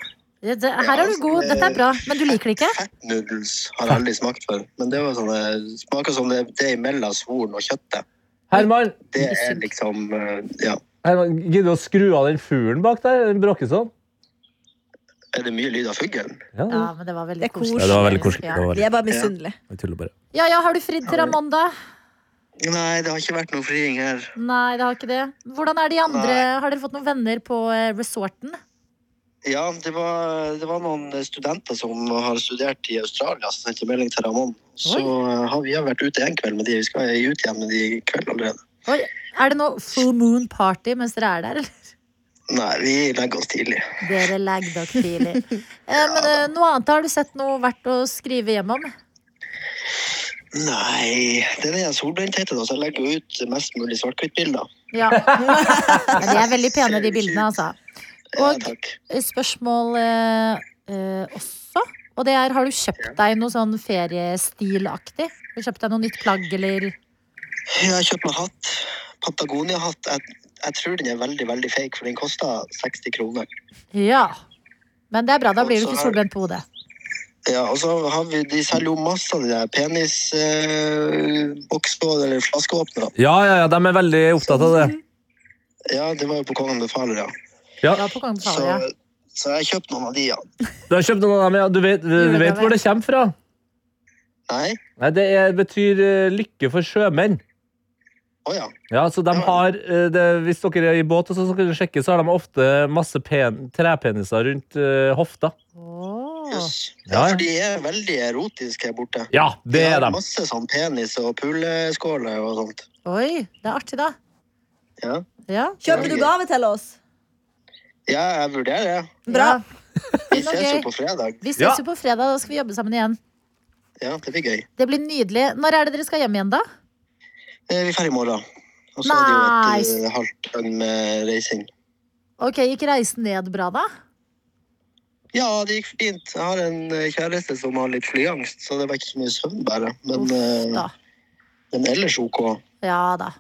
C: Det, det, her er du god. Dette er bra. Men du liker det ikke?
F: Fettnudels har jeg aldri smakt før. Men det var sånn, det smaker som det, det er mellom svoren og kjøttet.
D: Herman,
F: Det er liksom eh, Ja.
D: Herman gidder du å skru av den fuglen bak der? Den sånn. bråkesånn?
F: Er det mye lyd av fuglen?
C: Ja, men det var veldig
E: Det er
C: koselig.
E: koselig. Ja, det
D: var veldig koselig.
C: Ja.
D: Det var-
E: Vi er bare misunnelige.
D: Jeg tuller bare.
C: Ja, ja, har du fridd til Ramonda?
F: Nei, det har ikke vært noe friing her.
C: Nei, det har ikke det. Hvordan er de andre? Har dere fått noen venner på eh, resorten?
F: Ja, det var, det var noen studenter som har studert i Australia, som sendte melding til Ramón. Så eh, har vi har vært ute en kveld med de. Vi skal ut igjen med de i kveld allerede.
C: Oi, er det noe full moon party mens dere er der, eller?
F: Nei, vi legger oss tidlig.
C: Dere legger dere tidlig. Eh, men eh, noe annet har du sett noe verdt å skrive hjem om?
F: Nei, det er det jeg solbrentheten, da, så jeg legger jo ut mest mulig svart-hvitt-bilder.
C: Ja. Men de er veldig pene, de bildene, altså.
F: Ja,
C: Og
F: takk.
C: eh, spørsmål eh, eh, også. Og det er, har du kjøpt deg noe sånn feriestilaktig? Har du kjøpt deg noe nytt plagg, eller?
F: Jeg har kjøpt meg hatt. Patagonia-hatt. Jeg, jeg tror den er veldig, veldig fake, for den koster 60 kroner.
C: Ja. Men det er bra, da blir du
F: Og så
C: ikke
F: har-
C: solbrent på hodet.
F: Ja, og så har vi, De selger jo masse av de der penisboksene eller flaskeåpnerne.
D: Ja, ja, ja, de er veldig opptatt av det.
F: Ja, det var jo på Kongen befaler, ja.
C: Ja, på Kongen
F: Så,
C: befaler, ja.
F: så jeg har kjøpt noen av de, ja.
D: Du har kjøpt noen av dem, ja. Du vet, du vet hvor det kommer fra?
F: Nei?
D: Nei, Det er, betyr eh, lykke for sjømenn.
F: Å ja.
D: Ja, så de har, eh, det, Hvis dere er i båt, og så skal dere sjekke, så har de ofte masse pen, trepeniser rundt eh, hofta.
C: Åh.
F: Jøss.
D: Ja,
F: Ja,
D: ja.
F: for de er veldig erotiske her borte.
D: Ja, det er
F: har
D: de.
F: Masse sånn penis og puleskåler og sånt.
C: Oi, det er artig, da.
F: Ja,
C: Ja.
E: Kjøper du gave til oss?
F: ja jeg vurderer det.
E: Bra.
C: Ja. Men
F: Vi ses jo
C: ok.
F: på fredag.
C: Vi ses
D: Ja.
C: jo på fredag, da skal vi jobbe sammen igjen.
F: Ja, det blir gøy.
C: Det blir nydelig. Når er det dere skal hjem igjen, da?
F: Eh, Vi drar i morgen. Og så er det jo et
C: Nice.
F: eh, halvt døgn med reising.
C: Ok, Gikk reisen ned bra, da?
F: Ja, det gikk fint. Jeg har en eh, kjæreste som har litt flyangst, så det var ikke så mye søvn bare. Men,
C: Uff,
F: eh,
C: da.
F: men ellers OK.
C: Ja da.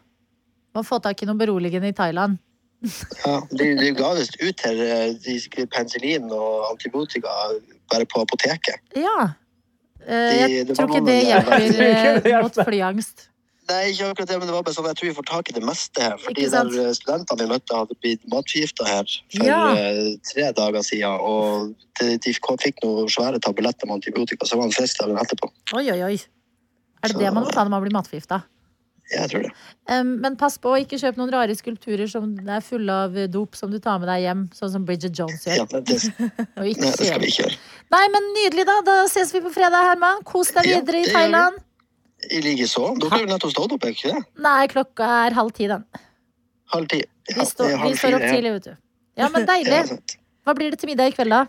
C: Må få tak i noe beroligende i Thailand.
F: Ja, de, de ga visst ut her eh, de skulle penicillin og antibiotika bare på apoteket.
C: Ja. Eh,
F: Det-
C: Jeg
F: det
C: tror
F: var
C: ikke
F: noe
C: det
F: med-
D: Jeg
C: hjelper
D: tror ikke det
C: eh,
D: hjelper.
C: mot flyangst.
F: Nei, ikke akkurat det, men det var bare sånn jeg tror vi får tak i det meste her. Fordi
C: Ikke sant?
F: der eh, studentene vi møtte, hadde blitt matforgifta her for
C: Ja.
F: eh, tre dager siden. Og de, de k- fikk noen svære tabletter med antibiotika, så var han frisk dagen etterpå.
C: Oi, oi, oi. Er det det man må ta når man blir matforgifta?
F: Jeg tror det.
C: Um, men pass på å ikke kjøpe noen rare skulpturer som er fulle av dop som du tar med deg hjem, sånn som Bridget Jones
F: Ja,
C: gjør.
F: men det,
C: Og ikke
F: nei, det skal
C: gjør.
F: vi ikke gjøre.
C: Nei, men nydelig, da. Da ses vi på fredag, Herman. Kos deg
F: Ja,
C: videre i
F: det gjør vi.
C: Thailand.
F: I like så. Dere har jo nettopp stått opp, er ikke det?
C: Nei, klokka er halv ti, den.
F: Halv ti. Ja,
C: Vi, står-
F: det er halv
C: vi står opp
F: fire, ja.
C: tidlig, vet du. Ja, men
F: Ja, altså.
C: deilig.
F: sant.
C: Hva blir det til middag i kveld, da?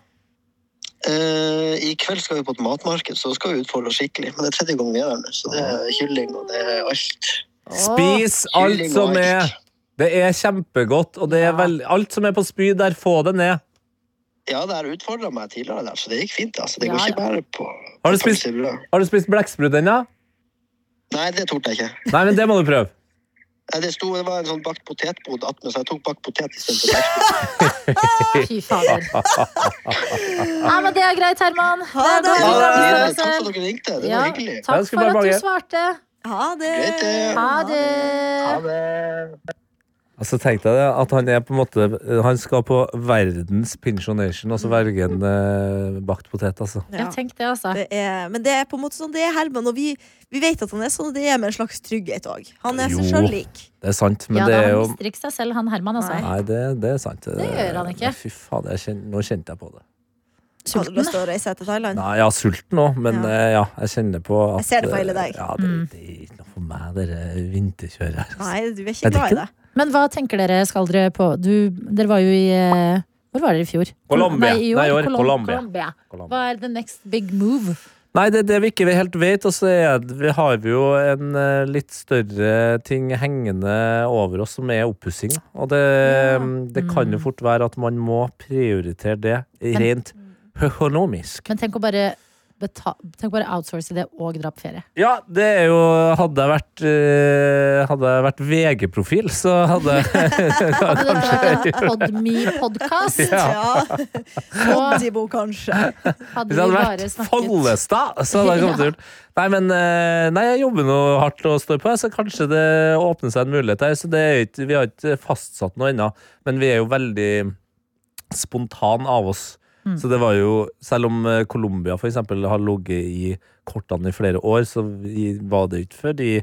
F: Eh, I kveld skal vi på et matmarked, så skal vi utfolde oss skikkelig. Men det er tredje gangen vi er der nå, så det
C: Ah.
F: er kylling og det er alt.
D: Spis alt
F: Kylling og
D: som er
F: alt.
D: Det er kjempegodt, og det er
C: Ja.
D: vel, alt som er på spyd der, få det ned.
F: Ja, det har utfordra meg tidligere der, så det gikk fint. altså. Det
C: Ja,
F: går ikke bare på
D: Har du
F: på
D: spist-
F: pølsebrød.
D: Har du spist blekksprut ennå?
F: Nei, det torde jeg ikke.
D: Nei, men det må du prøve.
F: Nei, Det, sto, det var en sånn bakt potetbod attmed, så jeg tok bakt potet istedenfor bakt.
C: Å, Fy fader. Nei, men det er greit, Herman.
E: Ha
C: Det er
E: det.
C: godt å
D: Ha
C: ta med
F: Takk
C: seg selv.
F: for at dere ringte. Det var
C: Ja,
F: hyggelig.
D: Jeg
C: takk
D: skulle
C: for at
D: bare
C: du
D: bange.
C: svarte.
E: Ha det!
F: Greit, det.
C: Ha det.
D: Altså, tenkte jeg det, at han er på en måte Han skal på verdens pensjonation, altså vergen eh, bakt potet, altså.
E: Ja.
C: Ja, tenk det, altså.
E: Det er, men det er på en måte sånn det er Herman, og vi, vi vet at han er sånn, og det er med en slags trygghet òg. Han er seg
D: Jo.
E: sjøl lik.
D: Det er sant, men
C: ja,
D: det
C: da,
D: er
C: han
D: jo
C: mister ikke seg selv, han Herman, altså.
E: Nei.
D: Nei, det, det er sant. Det
C: gjør han ikke.
D: Fy faen, jeg kjen- nå kjente jeg på det.
E: Hadde du lyst til å reise til Thailand?
D: Nei, jeg er sulten nå, men
E: Ja.
D: ja. ja, jeg kjenner på at
E: Jeg ser det på hele deg.
D: eh, Ja, det, det er ikke noe for meg, det der vinterkjøret her. altså.
E: Nei, du er
D: Jeg
E: ikke glad
D: drikker
E: i det.
C: Men hva tenker dere skal dere på? Du, dere var jo i eh, Hvor var dere i fjor?
D: Colombia.
C: Nei, i år.
D: Nei, i år.
C: Colom-
D: Colombia.
C: Colombia.
D: Colombia.
C: Hva er the next big move?
D: Nei, det er det vi ikke helt vet, og så er det- vi har vi jo en eh, litt større ting hengende over oss, som er oppussing. da. Og det, mm, det kan
E: Mm.
D: jo fort være at man må prioritere det rent økonomisk.
C: Men tenk å bare, beta tenk å bare outsource det og dra på ferie.
D: Ja, det er jo Hadde jeg vært, eh, hadde jeg vært VG-profil, så hadde jeg
C: Hadde dere hatt en Podme-podkast,
D: Ja.
E: Ja. Podimo, kanskje.
C: hadde
D: Hvis det
C: vi
D: hadde
C: bare
D: vært
C: snakket
D: Follestad, så hadde jeg kommet til Nei, men eh, nei, jeg jobber nå hardt og står på, så kanskje det åpner seg en mulighet her. Så det er ikke, vi har ikke fastsatt noe ennå, men vi er jo veldig spontan av oss.
C: Mm.
D: Så det var jo, selv om eh, Colombia for eksempel har ligget i kortene i flere år, så vi, var det ikke før i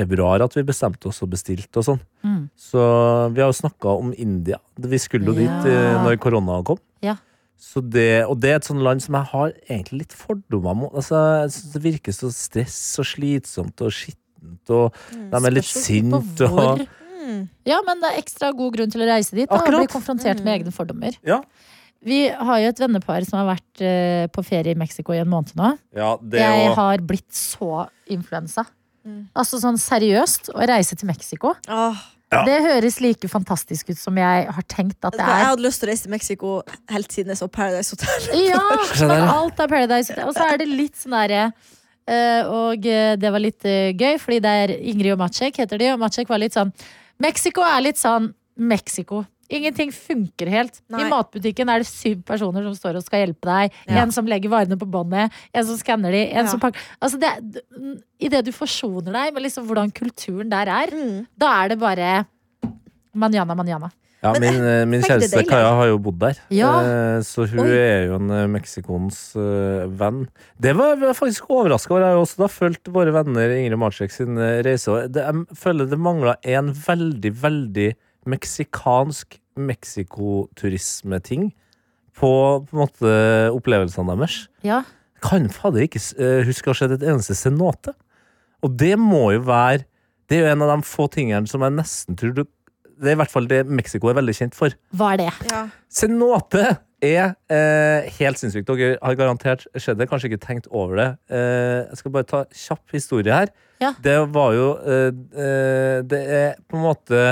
D: februar at vi bestemte oss og bestilte og sånn.
C: Mm.
D: Så vi har jo snakka om India. Vi skulle jo dit eh,
C: Ja.
D: når korona kom.
C: Ja.
D: Så det, og det er et sånt land som jeg har egentlig litt fordommer mot. Altså, jeg synes det virker så stress og slitsomt og skittent, og de er litt
C: Spørsmål
D: sinte.
C: Mm. på
D: Og,
C: hvor. Mm. Ja, men det er ekstra god grunn til å reise dit da, og
D: Akkurat. Mm.
C: bli konfrontert med egne fordommer.
D: Ja.
C: Vi har jo et vennepar som har vært eh, på ferie i Mexico i en måned nå.
D: ja, det
C: jeg
D: og,
C: har blitt så influensa. Altså sånn seriøst, å reise til Mexico
E: Åh,
C: Det høres like fantastisk ut som jeg har tenkt at
E: vet du
C: det
E: hva, jeg
C: er.
E: hadde lyst til å reise til Mexico helt siden jeg så Paradise Hotel.
C: Ja,
D: der,
C: men
D: ja.
C: alt er Paradise Hotel. Og så er det litt sånn derre eh, Og eh, det var litt eh, gøy, fordi det er Ingrid og Maciek heter de, og Maciek var litt sånn Mexico er litt sånn Mexico. Ingenting funker helt.
E: Nei.
C: I matbutikken er det syv personer som står og skal hjelpe deg.
D: Ja.
C: En som legger varene på båndet, en som skanner de, en
E: Ja.
C: som pakker Altså, det, idet du forsoner deg med liksom hvordan kulturen der er,
E: Mm.
C: da er det bare manjana, manjana.
D: ja,
E: Men,
D: min, eh, min
E: tenk det
D: kjæreste
E: deilig.
D: Kaja har jo bodd der,
C: Ja.
D: Eh, så hun
E: Oi.
D: er jo en eh, meksikonens eh, venn. Det var jeg faktisk overraska over. Jeg har jo også da fulgt våre venner Ingrid Marcek sin eh, reise. og Det, jeg føler det mangla en veldig, veldig meksikansk meksikoturismeting på, på en måte opplevelsene deres.
C: Ja.
D: kan fader ikke s- eh, huske å ha sett et eneste cenote. Og det må jo være Det er jo en av de få tingene som jeg nesten tror du Det er i hvert fall det Mexico er veldig kjent for.
C: Hva er det?
E: Ja.
D: Cenote er eh, helt sinnssykt. Dere har garantert skjedd det. Kanskje ikke tenkt over det. Eh, jeg skal bare ta kjapp historie her.
C: Ja.
D: Det var jo eh, eh, Det er på en måte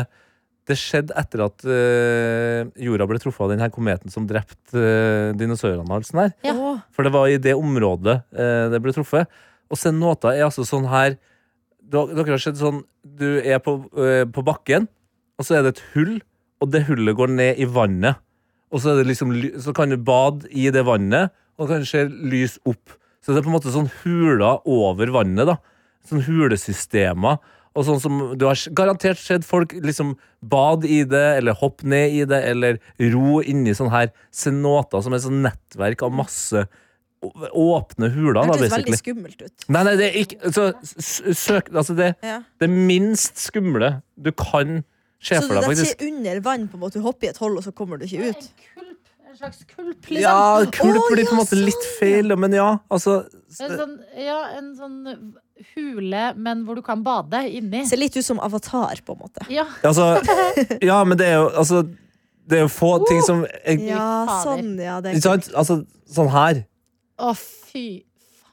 D: det skjedde etter at eh, jorda ble truffet av denne kometen som drepte eh, dinosaurene. og alt sånt her.
C: Ja.
E: Åh,
D: For det var i det området eh, det ble truffet. Og senota er altså sånn her Dere dere har sett sånn Du er på, eh, på bakken, og så er det et hull, og det hullet går ned i vannet. Og så, er det liksom, ly- så kan du bade i det vannet, og det kan se lys opp. Så det er på en måte sånn huler over vannet, da. Sånn hulesystemer. Og sånn som Du har s- garantert sett folk liksom bade i det, eller hoppe ned i det, eller ro inni sånn her cenoter, som er sånn nettverk av masse å- åpne huler,
E: det
D: da,
E: hørtes veldig
D: basically.
E: skummelt ut.
D: Nei, nei, det er ikke så, s- søk, altså det,
E: Ja.
D: det minst skumle du kan se
E: Så du
D: for deg,
E: detter
D: faktisk.
E: ikke under vann, på en måte. Du hopper i et hull, og så kommer du ikke ut.
C: En slags kulp, liksom.
D: Ja, kulp
E: Å,
D: blir på en
E: ja,
D: måte litt feil, men ja. Altså s-
C: En sånn, ja, en sånn hule, men hvor du kan bade inni.
E: Ser litt ut som avatar, på en måte.
C: Ja,
D: Altså, ja, men det er jo altså, Det er jo få ting som er,
E: Ja,
C: fader.
E: sånn, ja. Det
D: Ikke
E: er,
D: sant? Altså, sånn her.
C: Å, fy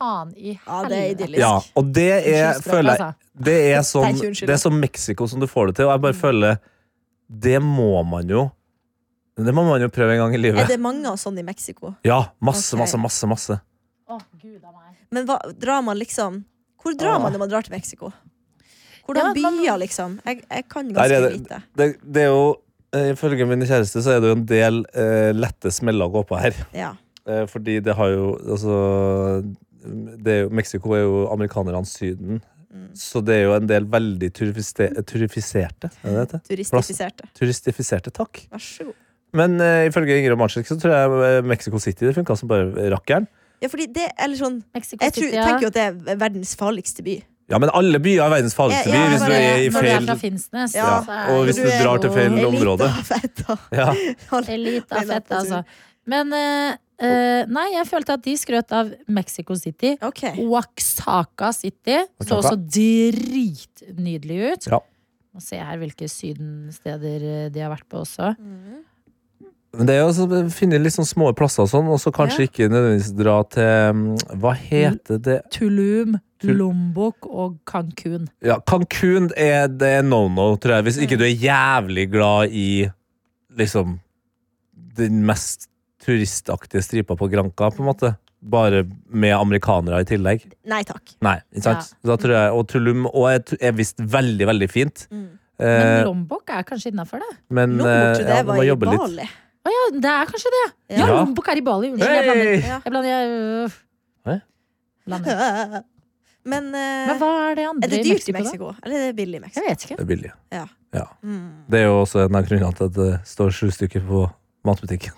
C: faen i helvete.
E: ja, det er idyllisk.
D: Ja, og det er,
C: Unnskyld,
D: føler
C: altså.
D: jeg Det er
E: Nei,
D: sånn
E: ikke unnskyld. Mm.
D: Det er som Mexico som du får det til, og jeg bare føler Det må man jo Det må man jo prøve en gang
E: Er
D: i livet.
E: det mange av sånne i Mexico?
D: Ja, masse,
E: Ok.
D: masse, masse. masse
C: Å, gud av meg.
E: Men hva, drar man liksom Hvor drar
D: Ah.
E: man når man drar til Mexico? Hvordan
C: Ja, man-
E: byer, liksom? Jeg, jeg kan
D: Der er
E: ganske
D: det-
E: lite.
D: Det, det er jo eh, Ifølge min kjæreste så er det jo en del eh, lette smeller å gå på her.
E: Ja.
D: Eh, fordi det har jo Altså det er jo, Mexico er jo amerikanernes Syden. Så det er jo en del veldig turifiste, turifiserte er det det heter?
E: Turistifiserte.
D: Turistifiserte, takk.
E: Vær så god.
D: Men eh, ifølge Ingrid Mansjek så tror jeg eh, Mexico City det funka som bare rakkeren.
E: Ja, fordi det Eller sånn
C: Mexico
E: Jeg tror,
C: City, ja.
E: tenker jo at det er verdens farligste by.
D: Ja, men alle byer er verdens farligste
E: Ja, ja,
D: by hvis
C: Når
D: du
C: det-
D: er i
C: Når du er
D: feil
C: fra Finnsnes,
E: Ja,
C: så er
D: og
C: det
D: hvis du
C: jo-
D: drar til feil
C: Elite-
D: område.
E: Feta.
D: Ja.
C: Elite
E: Nei,
C: av
E: da,
C: fett,
E: på tur.
C: altså. Men eh, eh, Nei, jeg følte at de skrøt av Mexico City.
E: Ok.
C: Oaxaca City så
D: Oaxaca.
C: også dritnydelig ut.
D: Ja.
C: Må se her hvilke sydensteder eh, de har vært på også.
D: Mm. Men det er jo å finne litt sånn små plasser og sånn, og så kanskje ikke nødvendigvis dra til mm, Hva heter det
C: Tulum,
D: Tul-
C: Lombok og Cancún.
D: Ja, Cancún er det no no, tror jeg, hvis
E: Mm.
D: ikke du er jævlig glad i liksom den mest turistaktige stripa på Granca, på en måte. Bare med amerikanere i tillegg.
E: Nei takk.
D: Nei, ikke sant? Da tror jeg, og Tulum og er, tu- er visst veldig, veldig fint.
E: Mm.
D: Eh,
C: Men Lombok er kanskje innafor, det?
D: men
E: Nå
D: eh,
E: trodde
D: ja,
E: jeg
D: du
E: var
D: må
E: i
D: jobbe litt.
E: Bali.
C: Å ja, det er kanskje det! Ja,
D: Ja.
C: Lombok er i Bali. Unnskyld, jeg blander.
D: Hey!
E: Ja.
C: Jeg blander, jeg, øh,
D: Hæ?
C: blander.
E: Men, eh,
C: Men hva er det andre
E: er det dyrt i
C: da?
E: Mexico? Eller er det billig i Mexico?
C: Jeg vet ikke.
D: Det er billig.
E: Ja.
D: Ja.
E: Mm.
D: Det er jo også en av grunnene til at det står sju stykker på matbutikken.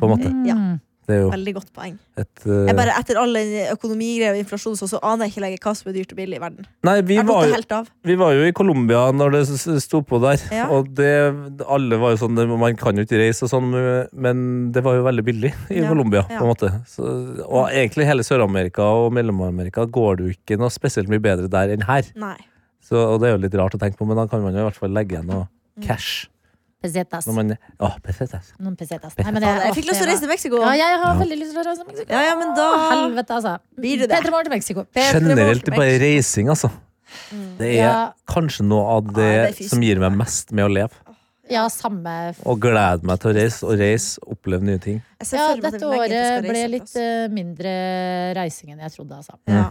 D: På en måte.
E: Ja.
C: Mm.
D: Det er jo
E: Veldig godt poeng.
D: et eh,
E: Jeg bare, etter all den økonomigreia og inflasjonen så, så aner jeg ikke lenger hva som er dyrt og billig i verden.
D: Nei, vi
E: Jeg
D: var,
E: måtte
D: jo-
E: helt av.
D: vi var jo i Colombia når det s- s- sto på der,
E: Ja.
D: og det Alle var jo sånn det- Man kan jo ikke reise og sånn, men det var jo veldig billig i
E: Ja,
D: Colombia, på en
E: ja.
D: måte. Så, og egentlig hele Sør-Amerika og Mellom-Amerika går det jo ikke noe spesielt mye bedre der enn her.
E: Nei.
D: Så, og det er jo litt rart å tenke på, men da kan man jo i hvert fall legge igjen noe
E: Mm.
D: cash.
C: Pesetas.
D: Når man, Åh, pesetas.
C: Noen pesetas. Nei, men
E: Ja,
C: jeg,
E: jeg fikk lyst til å reise til Mexico.
C: Ja, jeg har
D: Ja.
C: veldig lyst til å reise til Mexico.
E: Ja, ja, men da
C: Å, Helvete, altså.
E: Blir det det?
C: Petra Morgen til Mexico.
E: Petra
D: Generelt
E: Morten,
D: bare reising, altså. Det er
C: Ja.
D: kanskje noe av det,
E: Mm. Ja, det er fysisk.
D: som gir meg mest med å leve.
C: Ja, samme f-
D: Og gleder meg til å reise og reise, oppleve nye ting.
E: Jeg ser
C: ja,
E: for meg at
C: dette
E: vi begge
C: året
E: skal
C: ble
E: reise til altså.
C: litt
E: oss.
C: eh, mindre reising enn jeg trodde. Altså.
E: ja.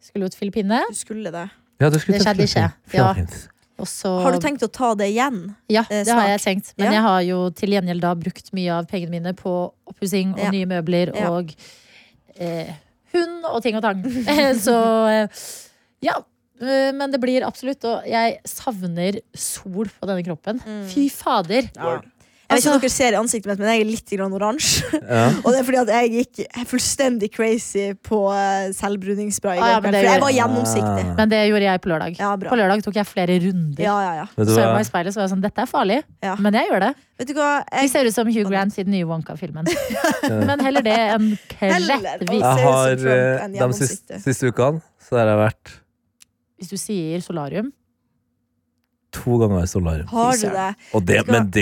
C: Skulle jo til Filippinene,
E: Du skulle det.
D: Ja, du skulle
C: Det
D: til
C: skjedde ikke.
D: Filippinene.
C: og så
E: Har du tenkt å ta det igjen?
C: Ja,
E: eh,
C: det har jeg
E: snart?
C: tenkt. Men
E: Ja.
C: jeg har jo til gjengjeld da brukt mye av pengene mine på oppussing og
E: Ja.
C: nye møbler
E: Ja.
C: og eh, hund og ting og tang. så eh, ja. eh, Men det blir absolutt, og jeg savner sol på denne kroppen.
E: Mm.
C: Fy fader!
E: Ja. Jeg
C: Altså-
E: vet ikke om dere ser i ansiktet mitt, men jeg er litt grann oransje.
D: Ja.
E: Og det er fordi at jeg gikk fullstendig crazy på eh, selvbruningsspray. i
C: Ah, ja,
E: går
C: men
E: kveld,
C: det
E: for
C: gjør-
E: jeg var gjennomsiktig.
D: Ah.
C: Men det gjorde jeg på lørdag.
E: Ja, bra.
C: på lørdag tok jeg flere runder.
E: Ja, ja, ja.
D: Vet du
C: Så jeg
D: hva?
C: meg i speilet så var jeg sånn, dette er farlig,
E: Ja.
C: men jeg gjør det.
E: Vet du hva?
C: Jeg
E: Jeg,
C: ser ut som Hugh Grant i den nye Wonka-filmen. Men heller det enn
E: Heller,
C: klettvis.
E: altså. ser ut
D: Jeg
E: som
D: har
E: Trump
D: eh,
E: enn
D: de
E: gjennom
D: siste,
E: sikte.
D: siste ukene så har jeg vært
C: Hvis du sier solarium.
D: to ganger i solarium.
E: har du det?
D: Og det,
E: Skal-
D: men det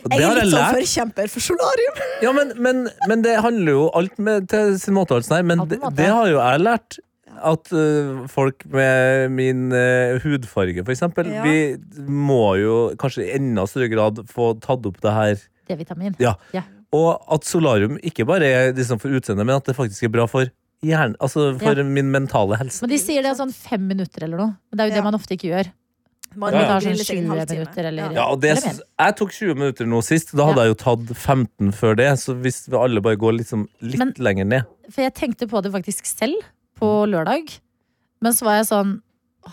D: Det
E: Jeg
D: har
E: er
D: jeg
E: litt sånn
D: lært.
E: forkjemper for solarium.
D: Ja, men, men, men det handler jo alt med, til sin måte, altså, nei, men
C: Alt på
D: det,
C: en måte.
D: det har jo jeg lært. At øh, folk med min øh, hudfarge, for eksempel,
E: Ja.
D: vi må jo kanskje i enda større grad få tatt opp det her.
C: D-vitamin.
D: Ja.
C: Ja.
D: Og at solarium ikke bare er liksom for utseendet, men at det faktisk er bra for hjernen, altså for
C: Ja.
D: min mentale helse.
C: Men de sier det er sånn fem minutter eller noe. Men det er jo
E: Ja.
C: det man ofte ikke gjør.
E: Man
D: Ja, ja.
C: Det
E: må
C: tar sånn
E: grille seg en
C: 20
E: halvtime.
C: minutter, eller-
D: Ja, og det,
C: Eller mer.
D: syns- jeg tok 20 minutter nå sist. Da hadde
C: Ja.
D: jeg jo tatt 15 før det. Så hvis vi alle bare går liksom litt
C: Men-
D: lenger ned
C: For jeg tenkte på det faktisk selv på lørdag. Men så var jeg sånn åh.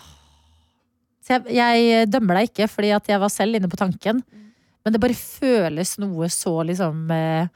C: Så jeg, jeg dømmer deg ikke, fordi at jeg var selv inne på tanken.
E: Mm.
C: Men det bare føles noe så liksom eh,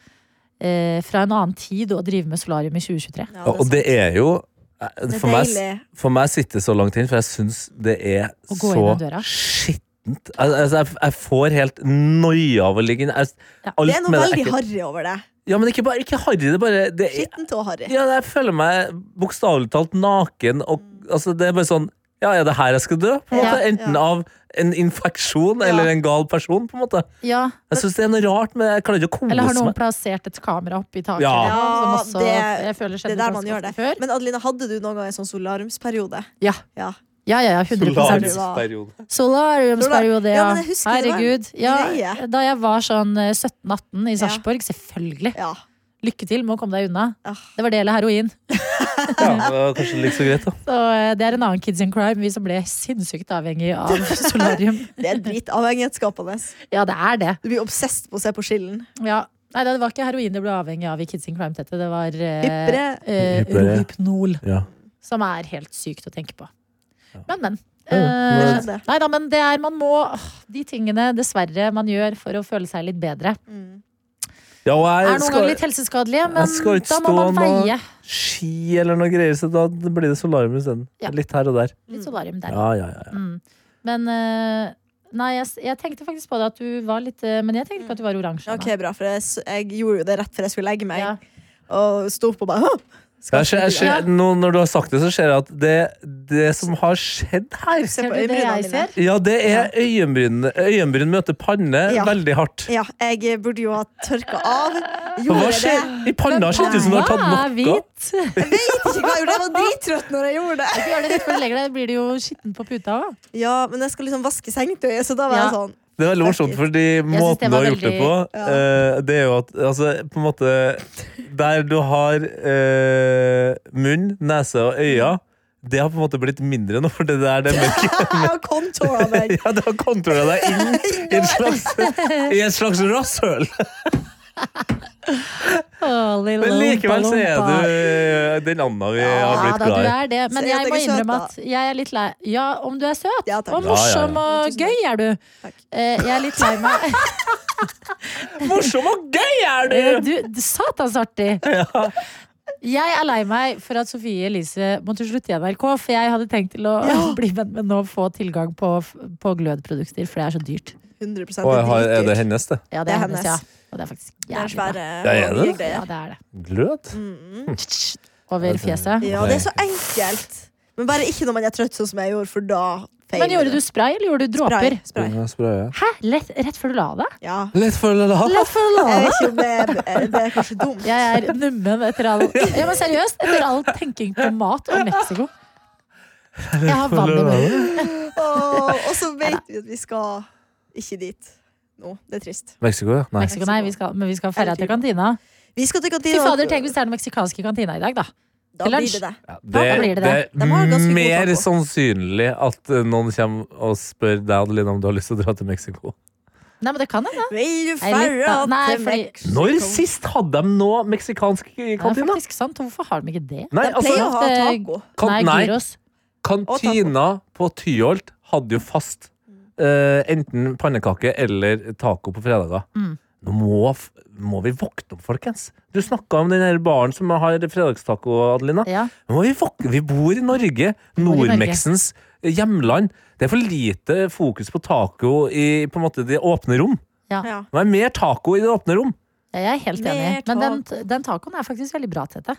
C: eh, fra en annen tid å drive med solarium i 2023.
E: Ja,
D: Og og det er jo eh,
E: Det er
D: for meg,
E: deilig.
D: for meg sitter det så langt inn, for jeg syns det er
C: Å gå inn
D: så
C: den døra.
D: skittent skittent. Al- Altså, jeg, jeg får helt noia av å ligge inne. Jeg-
C: Ja,
D: alt
E: Det er noe
D: med
E: veldig
D: ekkelt.
E: harry over det.
D: Ja, men ikke, bare, ikke harry. Det er bare det er,
E: Skittent og harry.
D: ja, Jeg føler meg bokstavelig talt naken. Og, altså, det er bare sånn Ja, er det her jeg skal dø? På en
C: Ja,
D: måte. Enten av en infeksjon eller en gal person. på en måte
C: Ja,
D: Jeg syns det er noe rart, men jeg klarer ikke å kose
C: Eller har noen
D: meg.
C: plassert et kamera oppi taket?
D: Ja.
C: eller noe, som også,
E: Ja,
C: jeg føler
E: Det
C: skjedde
E: er der man
C: ganske
E: gjør det.
C: ofte Før.
E: Men Adelina, hadde du noen gang en sånn solariumsperiode?
C: Ja.
E: Ja.
C: Ja, ja, ja, 100
D: Solariumsperiode.
C: Solariumsperiode,
E: Ja,
C: ja.
E: men jeg husker det var en
C: Herregud. Ja,
E: greie.
C: da jeg var sånn eh, 17-18 i
E: Ja.
C: Sarpsborg, selvfølgelig.
E: ja.
C: Lykke til med å komme deg unna.
E: Ja.
C: Det var det eller heroin.
D: Ja, det var kanskje litt så greit, da.
C: Så eh, det er en annen Kids in Crime, vi som ble sinnssykt avhengig av solarium.
E: Det er dritavhengighetsskapende.
C: Ja, det er det.
E: Du blir obsesst på å se på skillen.
C: Ja. Nei, det var ikke heroin det ble avhengig av i Kids in Crime-tettet. Det var eh,
E: Hyppere.
C: eh,
D: Hypere.
C: Rohypnol,
D: Ja.
C: som er helt sykt å tenke på. Men, men.
D: Ja,
C: Eh,
E: det skjedde.
C: nei da, men det er man må åh, De tingene dessverre man gjør for å føle seg litt bedre,
D: Ja, og
C: er
D: jeg
C: noen
D: skal
C: ganger litt helseskadelige,
D: skal
C: men
D: ikke
C: da må
D: stå
C: man
D: nå-
C: veie.
D: ski eller noe greier, så da blir det solarium isteden.
C: Ja.
D: Litt her og der.
E: Mm.
C: Litt solarium der.
D: Ja, ja, ja. ja.
C: Mm. Men eh, Nei, jeg, s- jeg tenkte faktisk på det at du var litt eh, Men jeg tenkte ikke at du var oransje.
E: Ok, bra, for jeg, s- jeg gjorde jo det rett før jeg skulle legge
C: nei.
E: meg,
C: Ja.
E: og sto opp og bare «Hå!» Skal
D: Jeg ser, jeg
E: ikke
D: ser, nå, når du har sagt det, så ser jeg at det, det som har skjedd her
E: Se
C: Ser
E: på
C: du det
E: øyenbrynene
C: jeg
E: dine.
C: ser?
D: Ja, det er øyenbryn. Øyenbryn møter panne
E: Ja.
D: veldig hardt.
E: Ja, jeg burde jo ha tørka av.
D: For hva
E: Gjorde det.
D: skjer? I panna ser det ut som du har tatt
C: Panna er
D: noe.
C: hvit.
E: Vet ikke hva jeg gjorde. Jeg var drittrøtt når jeg gjorde det.
C: Du gjør det rett før du legger deg, blir det jo skitten på puta òg.
E: Ja, men jeg skal liksom vaske sengetøyet, så da var
C: Ja.
E: jeg sånn
D: Det er veldig morsomt, fordi
C: synes det
D: måten du
C: var
D: har gjort det på,
C: veldig-
D: eh, det er jo at altså, på en måte Der du har eh, munn, nese og øyne,
C: Mm.
D: det har på en måte blitt mindre nå, for det der det er mørkt.
E: Jeg har contoura meg.
D: Ja, du har kontrollert deg inn i et slags, i et slags rasshøl. Men likevel så er du eh, den Anna vi har
C: ja,
D: blitt
C: da,
D: glad
C: du
D: i.
C: er det. Men
E: Si at
C: jeg
E: jeg
C: må
E: er søt,
C: innrømme
E: da.
C: at jeg er litt lei Ja, om du er søt
E: Ja, takk.
C: og
D: Ja, ja, ja.
C: morsom og
E: Tusen takk.
C: gøy er du.
E: Takk.
C: Eh, Jeg er litt lei meg
D: Morsom og gøy er
C: Eh, Du, du- satans artig! Jeg er lei meg for at Sofie Elise måtte slutte i NRK, for jeg hadde tenkt til å
E: Ja.
C: bli venn med henne og få tilgang på, på glødprodukter, for det er så dyrt.
E: 100
D: Å, jeg har, er det
E: dritdyrt.
D: hennes, det?
C: Ja, det er hennes, ja. Og det er faktisk
E: Det er
C: jævlig bra.
E: svære
D: Ja, er det?
E: mye greier.
C: Ja, det er det.
D: Glød?
C: Mm. Over fjeset.
E: Hm. Ja, det er så enkelt. Men bare ikke når man er trøtt, sånn som jeg gjorde, for da feiler
C: Men gjorde du spray, eller gjorde du dråper?
E: spray?
D: Mm.
E: spray.
C: Hæ? Lett, rett før du la deg?
E: Ja.
D: Litt for å la
C: Rett før du la deg?
E: Jeg vet ikke om det er, det er kanskje dumt.
C: Jeg er nummen etter all Ja, men seriøst, etter all tenking på mat og Mexico. Jeg har vann i munnen.
E: Åh, og så vet vi at vi skal ikke dit nå. Det er trist.
D: Mexico, ja. Nei.
C: Mexico, nei, vi skal, men vi skal ferja til kantina.
E: Vi skal til
C: Fy
E: kantina.
C: fader, tenk hvis det er den meksikanske kantina i dag, da.
E: da blir
C: lunsj.
E: det det.
D: Det,
C: Da blir det det.
D: det
E: De har
D: er
E: ganske god
D: mer
E: taco.
D: sannsynlig at eh, noen kommer og spør deg Adeline, om du har lyst til å dra til Mexico.
C: Nei, men det kan hende.
E: Vil du
C: Jeg er litt da-
E: ferda
C: Nei,
E: til
C: fordi-
E: Mexico?
D: Når sist hadde de nå meksikansk i
C: Det er
D: kantina?
C: faktisk sant. Hvorfor har de ikke det?
D: Nei,
E: Jeg
D: altså,
E: pleier å ha
C: at,
E: taco.
D: kan,
C: Nei,
D: nei,
C: gyros.
D: kantina på Tyholt hadde jo fast eh, enten pannekake eller taco på fredager.
C: Mm.
D: Nå må, f- må vi våkne opp, folkens. Du snakka om den her baren som har fredagstaco, Adelina.
C: Ja.
D: Nå må vi, våkne. vi bor i Norge,
C: bor i Norge.
D: Nordmeksens hjemland. Det er for lite fokus på taco i på en måte, det åpne rom.
E: Ja.
D: Det er mer taco i det åpne rom.
C: Ja, Jeg er helt
E: Mer
C: enig. Men den, den tacoen er faktisk veldig bra, Tete.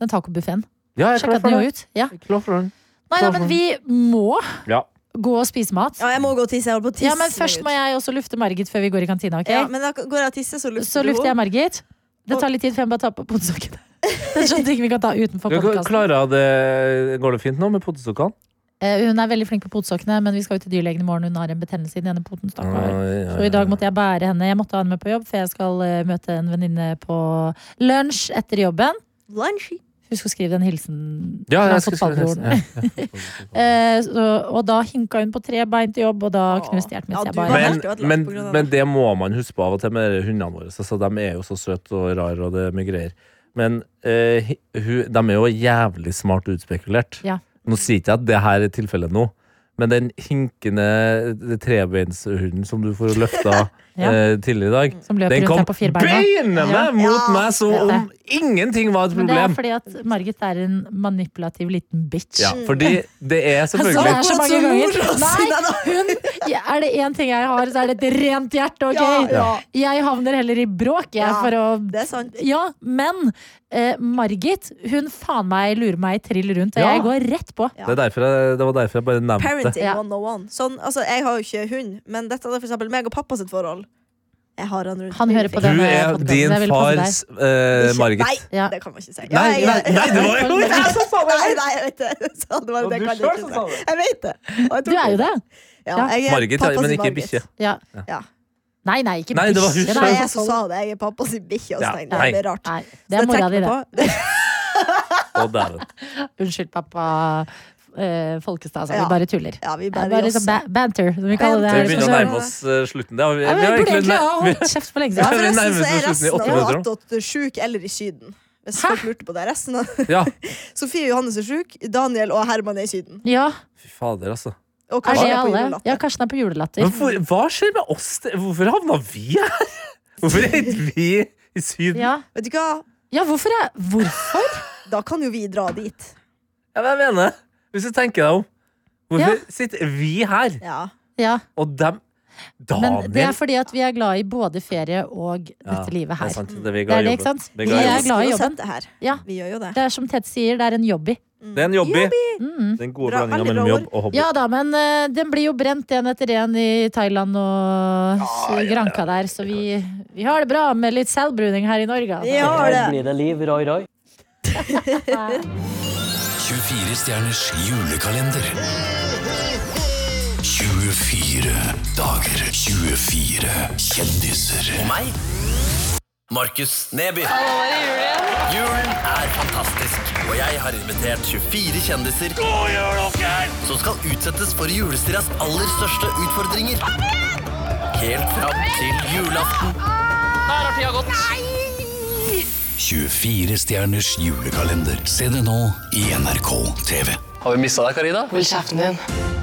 C: Den tacobuffeen.
D: Ja, jeg er
C: Sjekka
D: klar
C: den
D: for
C: jo
D: det.
C: ut. Ja.
D: Jeg er klar for det.
C: Nei, nei, men vi må
D: Ja.
C: gå og spise mat.
E: Ja, jeg må gå og tisse. Jeg holder på å tisse.
C: Ja, men først må jeg også lufte Margit før vi går i kantina, ok?
E: ja, men da går jeg og tisser, så lufter
C: Så
E: du
C: lufter jeg
E: opp.
C: Margit. Det tar litt tid før jeg må bare ta på potesokkene. Det er sånne ting vi kan ta utenfor
D: Du,
C: podkasten.
D: Klara, det, går det fint nå med potestokkene?
C: Eh, Hun er veldig flink på potesokkene, men vi skal jo til dyrlegen i morgen. Hun har en betennelse i den ene poten. stakkar. Så i dag måtte jeg bære henne. Jeg måtte ha henne med på jobb, for jeg skal eh, møte en venninne på lunsj etter jobben.
E: Lunshy.
C: Husk å skrive den hilsen.
D: ja,
C: fra
D: jeg skal skrive
C: fotballbroren.
D: det. Ja, ja.
C: Eh, så, og da hinka hun på tre bein til jobb, og da
E: Åh.
C: knuste hjertet mitt.
E: Ja,
C: så jeg
E: du var
C: bare,
D: Men,
E: helt ødelagt
D: men,
E: på grunn av
D: men det må man huske på av og til med de hundene våre. Så de er jo så søte og rare, og det er mye greier. Men eh, hi- hu- de er jo jævlig smart utspekulert.
C: Ja.
D: Nå sier ikke jeg at det her er tilfellet nå, men den hinkende eh, trebeinshunden som du får løfta
C: Ja.
D: eh, tidligere i dag,
C: som løper
D: den
C: rundt
D: kom
C: her på fire beina.
D: beinende
C: Ja.
D: mot
E: Ja,
D: meg som
C: vet
D: om ingenting var et
C: Men det er
D: problem!
C: fordi at Margit er en manipulativ liten bitch.
D: Ja, fordi det er
C: Altså,
D: selvfølgelig
C: det er så mange
E: Akkurat som
C: ganger.
E: mora si,
C: Nei, hun, er det det én ting jeg har, så er det et rent hjerte, OK?
E: Ja, ja.
C: Jeg havner heller i bråk, jeg,
E: Ja,
C: for å
E: Det er sant.
C: Ja, men eh, Margit, hun faen meg lurer meg trill rundt, og
D: Ja.
C: jeg går rett på.
E: Ja.
D: Det, er derfor jeg, det var derfor jeg bare nevnte det.
E: Parenting
C: Ja.
E: 101. Sånn, altså, jeg har jo ikke hund, men dette er for eksempel meg og pappa sitt forhold. Jeg har han rundt
C: Han
E: min
C: hører på
E: finger.
C: det.
D: Du
C: denne podcasten,
D: er din
C: jeg vil passe
D: fars eh,
E: Ikke-
D: Margit.
E: Nei,
C: Ja.
E: det kan man ikke si. Ja,
D: Nei,
E: jeg-
D: nei, nei, det var jo
E: Nei, for faen, nei, nei, jeg vet det. Så det var,
D: Og
E: det
D: du
E: kan jeg
D: selv
E: ikke
D: som
E: si.
D: sa det.
E: Jeg vet det. Og jeg
C: Du
E: tok
C: er jo det.
E: Ja,
C: Ja.
E: jeg er
D: Margit, ja,
E: pappas
D: men ikke
E: Margit.
D: bikkje.
C: Ja.
E: Ja.
C: Nei, nei, ikke
D: Nei, det var
C: bikkje.
D: hun
E: Nei,
D: selv.
E: jeg som sa det. Jeg er pappas bikkje. og
D: Ja,
E: sånn. Det
D: nei.
E: blir rart.
C: Nei,
E: Så
C: det er
E: jeg
C: mora
E: trekker
C: di, det.
E: meg på.
D: Å, dæven.
C: Unnskyld, pappa eh, Folkestad. Altså.
E: Ja.
C: Vi bare tuller.
E: Ja, vi
C: Det er
E: bærer
C: bare
E: oss.
C: liksom ba banter, som vi kaller det her.
E: Banter.
D: Vi begynner å
C: Sånn-
D: nærme oss eh, slutten. Det har vi,
C: Ja, men
D: vi har
C: Jeg burde egentlig
D: egentlig
C: ha
D: vi-
C: holdt kjeft for lenge
E: Ja,
C: siden.
D: vi
E: forresten
D: nærmer
E: så
D: oss
E: er
D: slutten i
E: resten
D: åtte
E: av
D: minutter nå.
E: attåt sjuk eller i Syden. Hvis folk lurte på det. Resten av
D: Ja,
E: Sofie og Johannes er sjuk, Daniel og Herman er i Syden.
C: Ja,
D: fy fader, altså.
E: Og
C: er
E: Karsten
C: det
E: er på
C: alle? Ja,
E: julelatter.
C: Karsten er på julelatter.
D: Men hvor, hva skjer med oss? Det- Hvorfor havna vi her? Hvorfor er ikke vi i Syden?
C: Ja,
E: Vet du hva?
C: ja hvorfor er Hvorfor?
E: Da kan jo vi dra dit.
D: Ja, men jeg mener det. Hvis du tenker deg om. Hvorfor
C: Ja.
D: sitter vi her,
E: Ja.
C: Ja,
D: og dem Daniel
C: men det er fordi at vi er glad i både ferie og
D: Ja,
C: dette livet
D: Det er
C: her.
D: sant. Det er vi
C: Det
D: glad
C: er
D: i
C: det, ikke
D: jobben.
C: sant?
D: Vi
C: Vi
D: er glad i
C: er
D: jobben.
C: glad i
E: elsker jo å
C: jobben.
E: sette det her.
C: Ja.
E: Vi gjør jo det.
C: Det er som Ted sier, det er en jobby.
D: Det er en jobby.
C: Mm.
D: Den gode
E: Bra,
D: blandinga
E: veldig
D: mellom
E: bra
D: jobb og hobby.
C: Ja da, men eh, den blir jo brent en etter en i Thailand og
F: Ja, ja,
C: Granca der, så vi, vi har det bra med litt selvbruning her i Norge. altså.
E: Vi har
B: Her blir
E: det.
B: det liv, roi, roi.
A: 24 stjerners julekalender. 24 dager. 24 kjendiser. Og meg. Markus Neby. Julen er fantastisk, og jeg har invitert 24 kjendiser som skal utsettes for julestiras aller største utfordringer. Helt fram til julaften. Nei! 24 stjerners julekalender. Se det nå i NRK TV.
G: Hold kjeften din.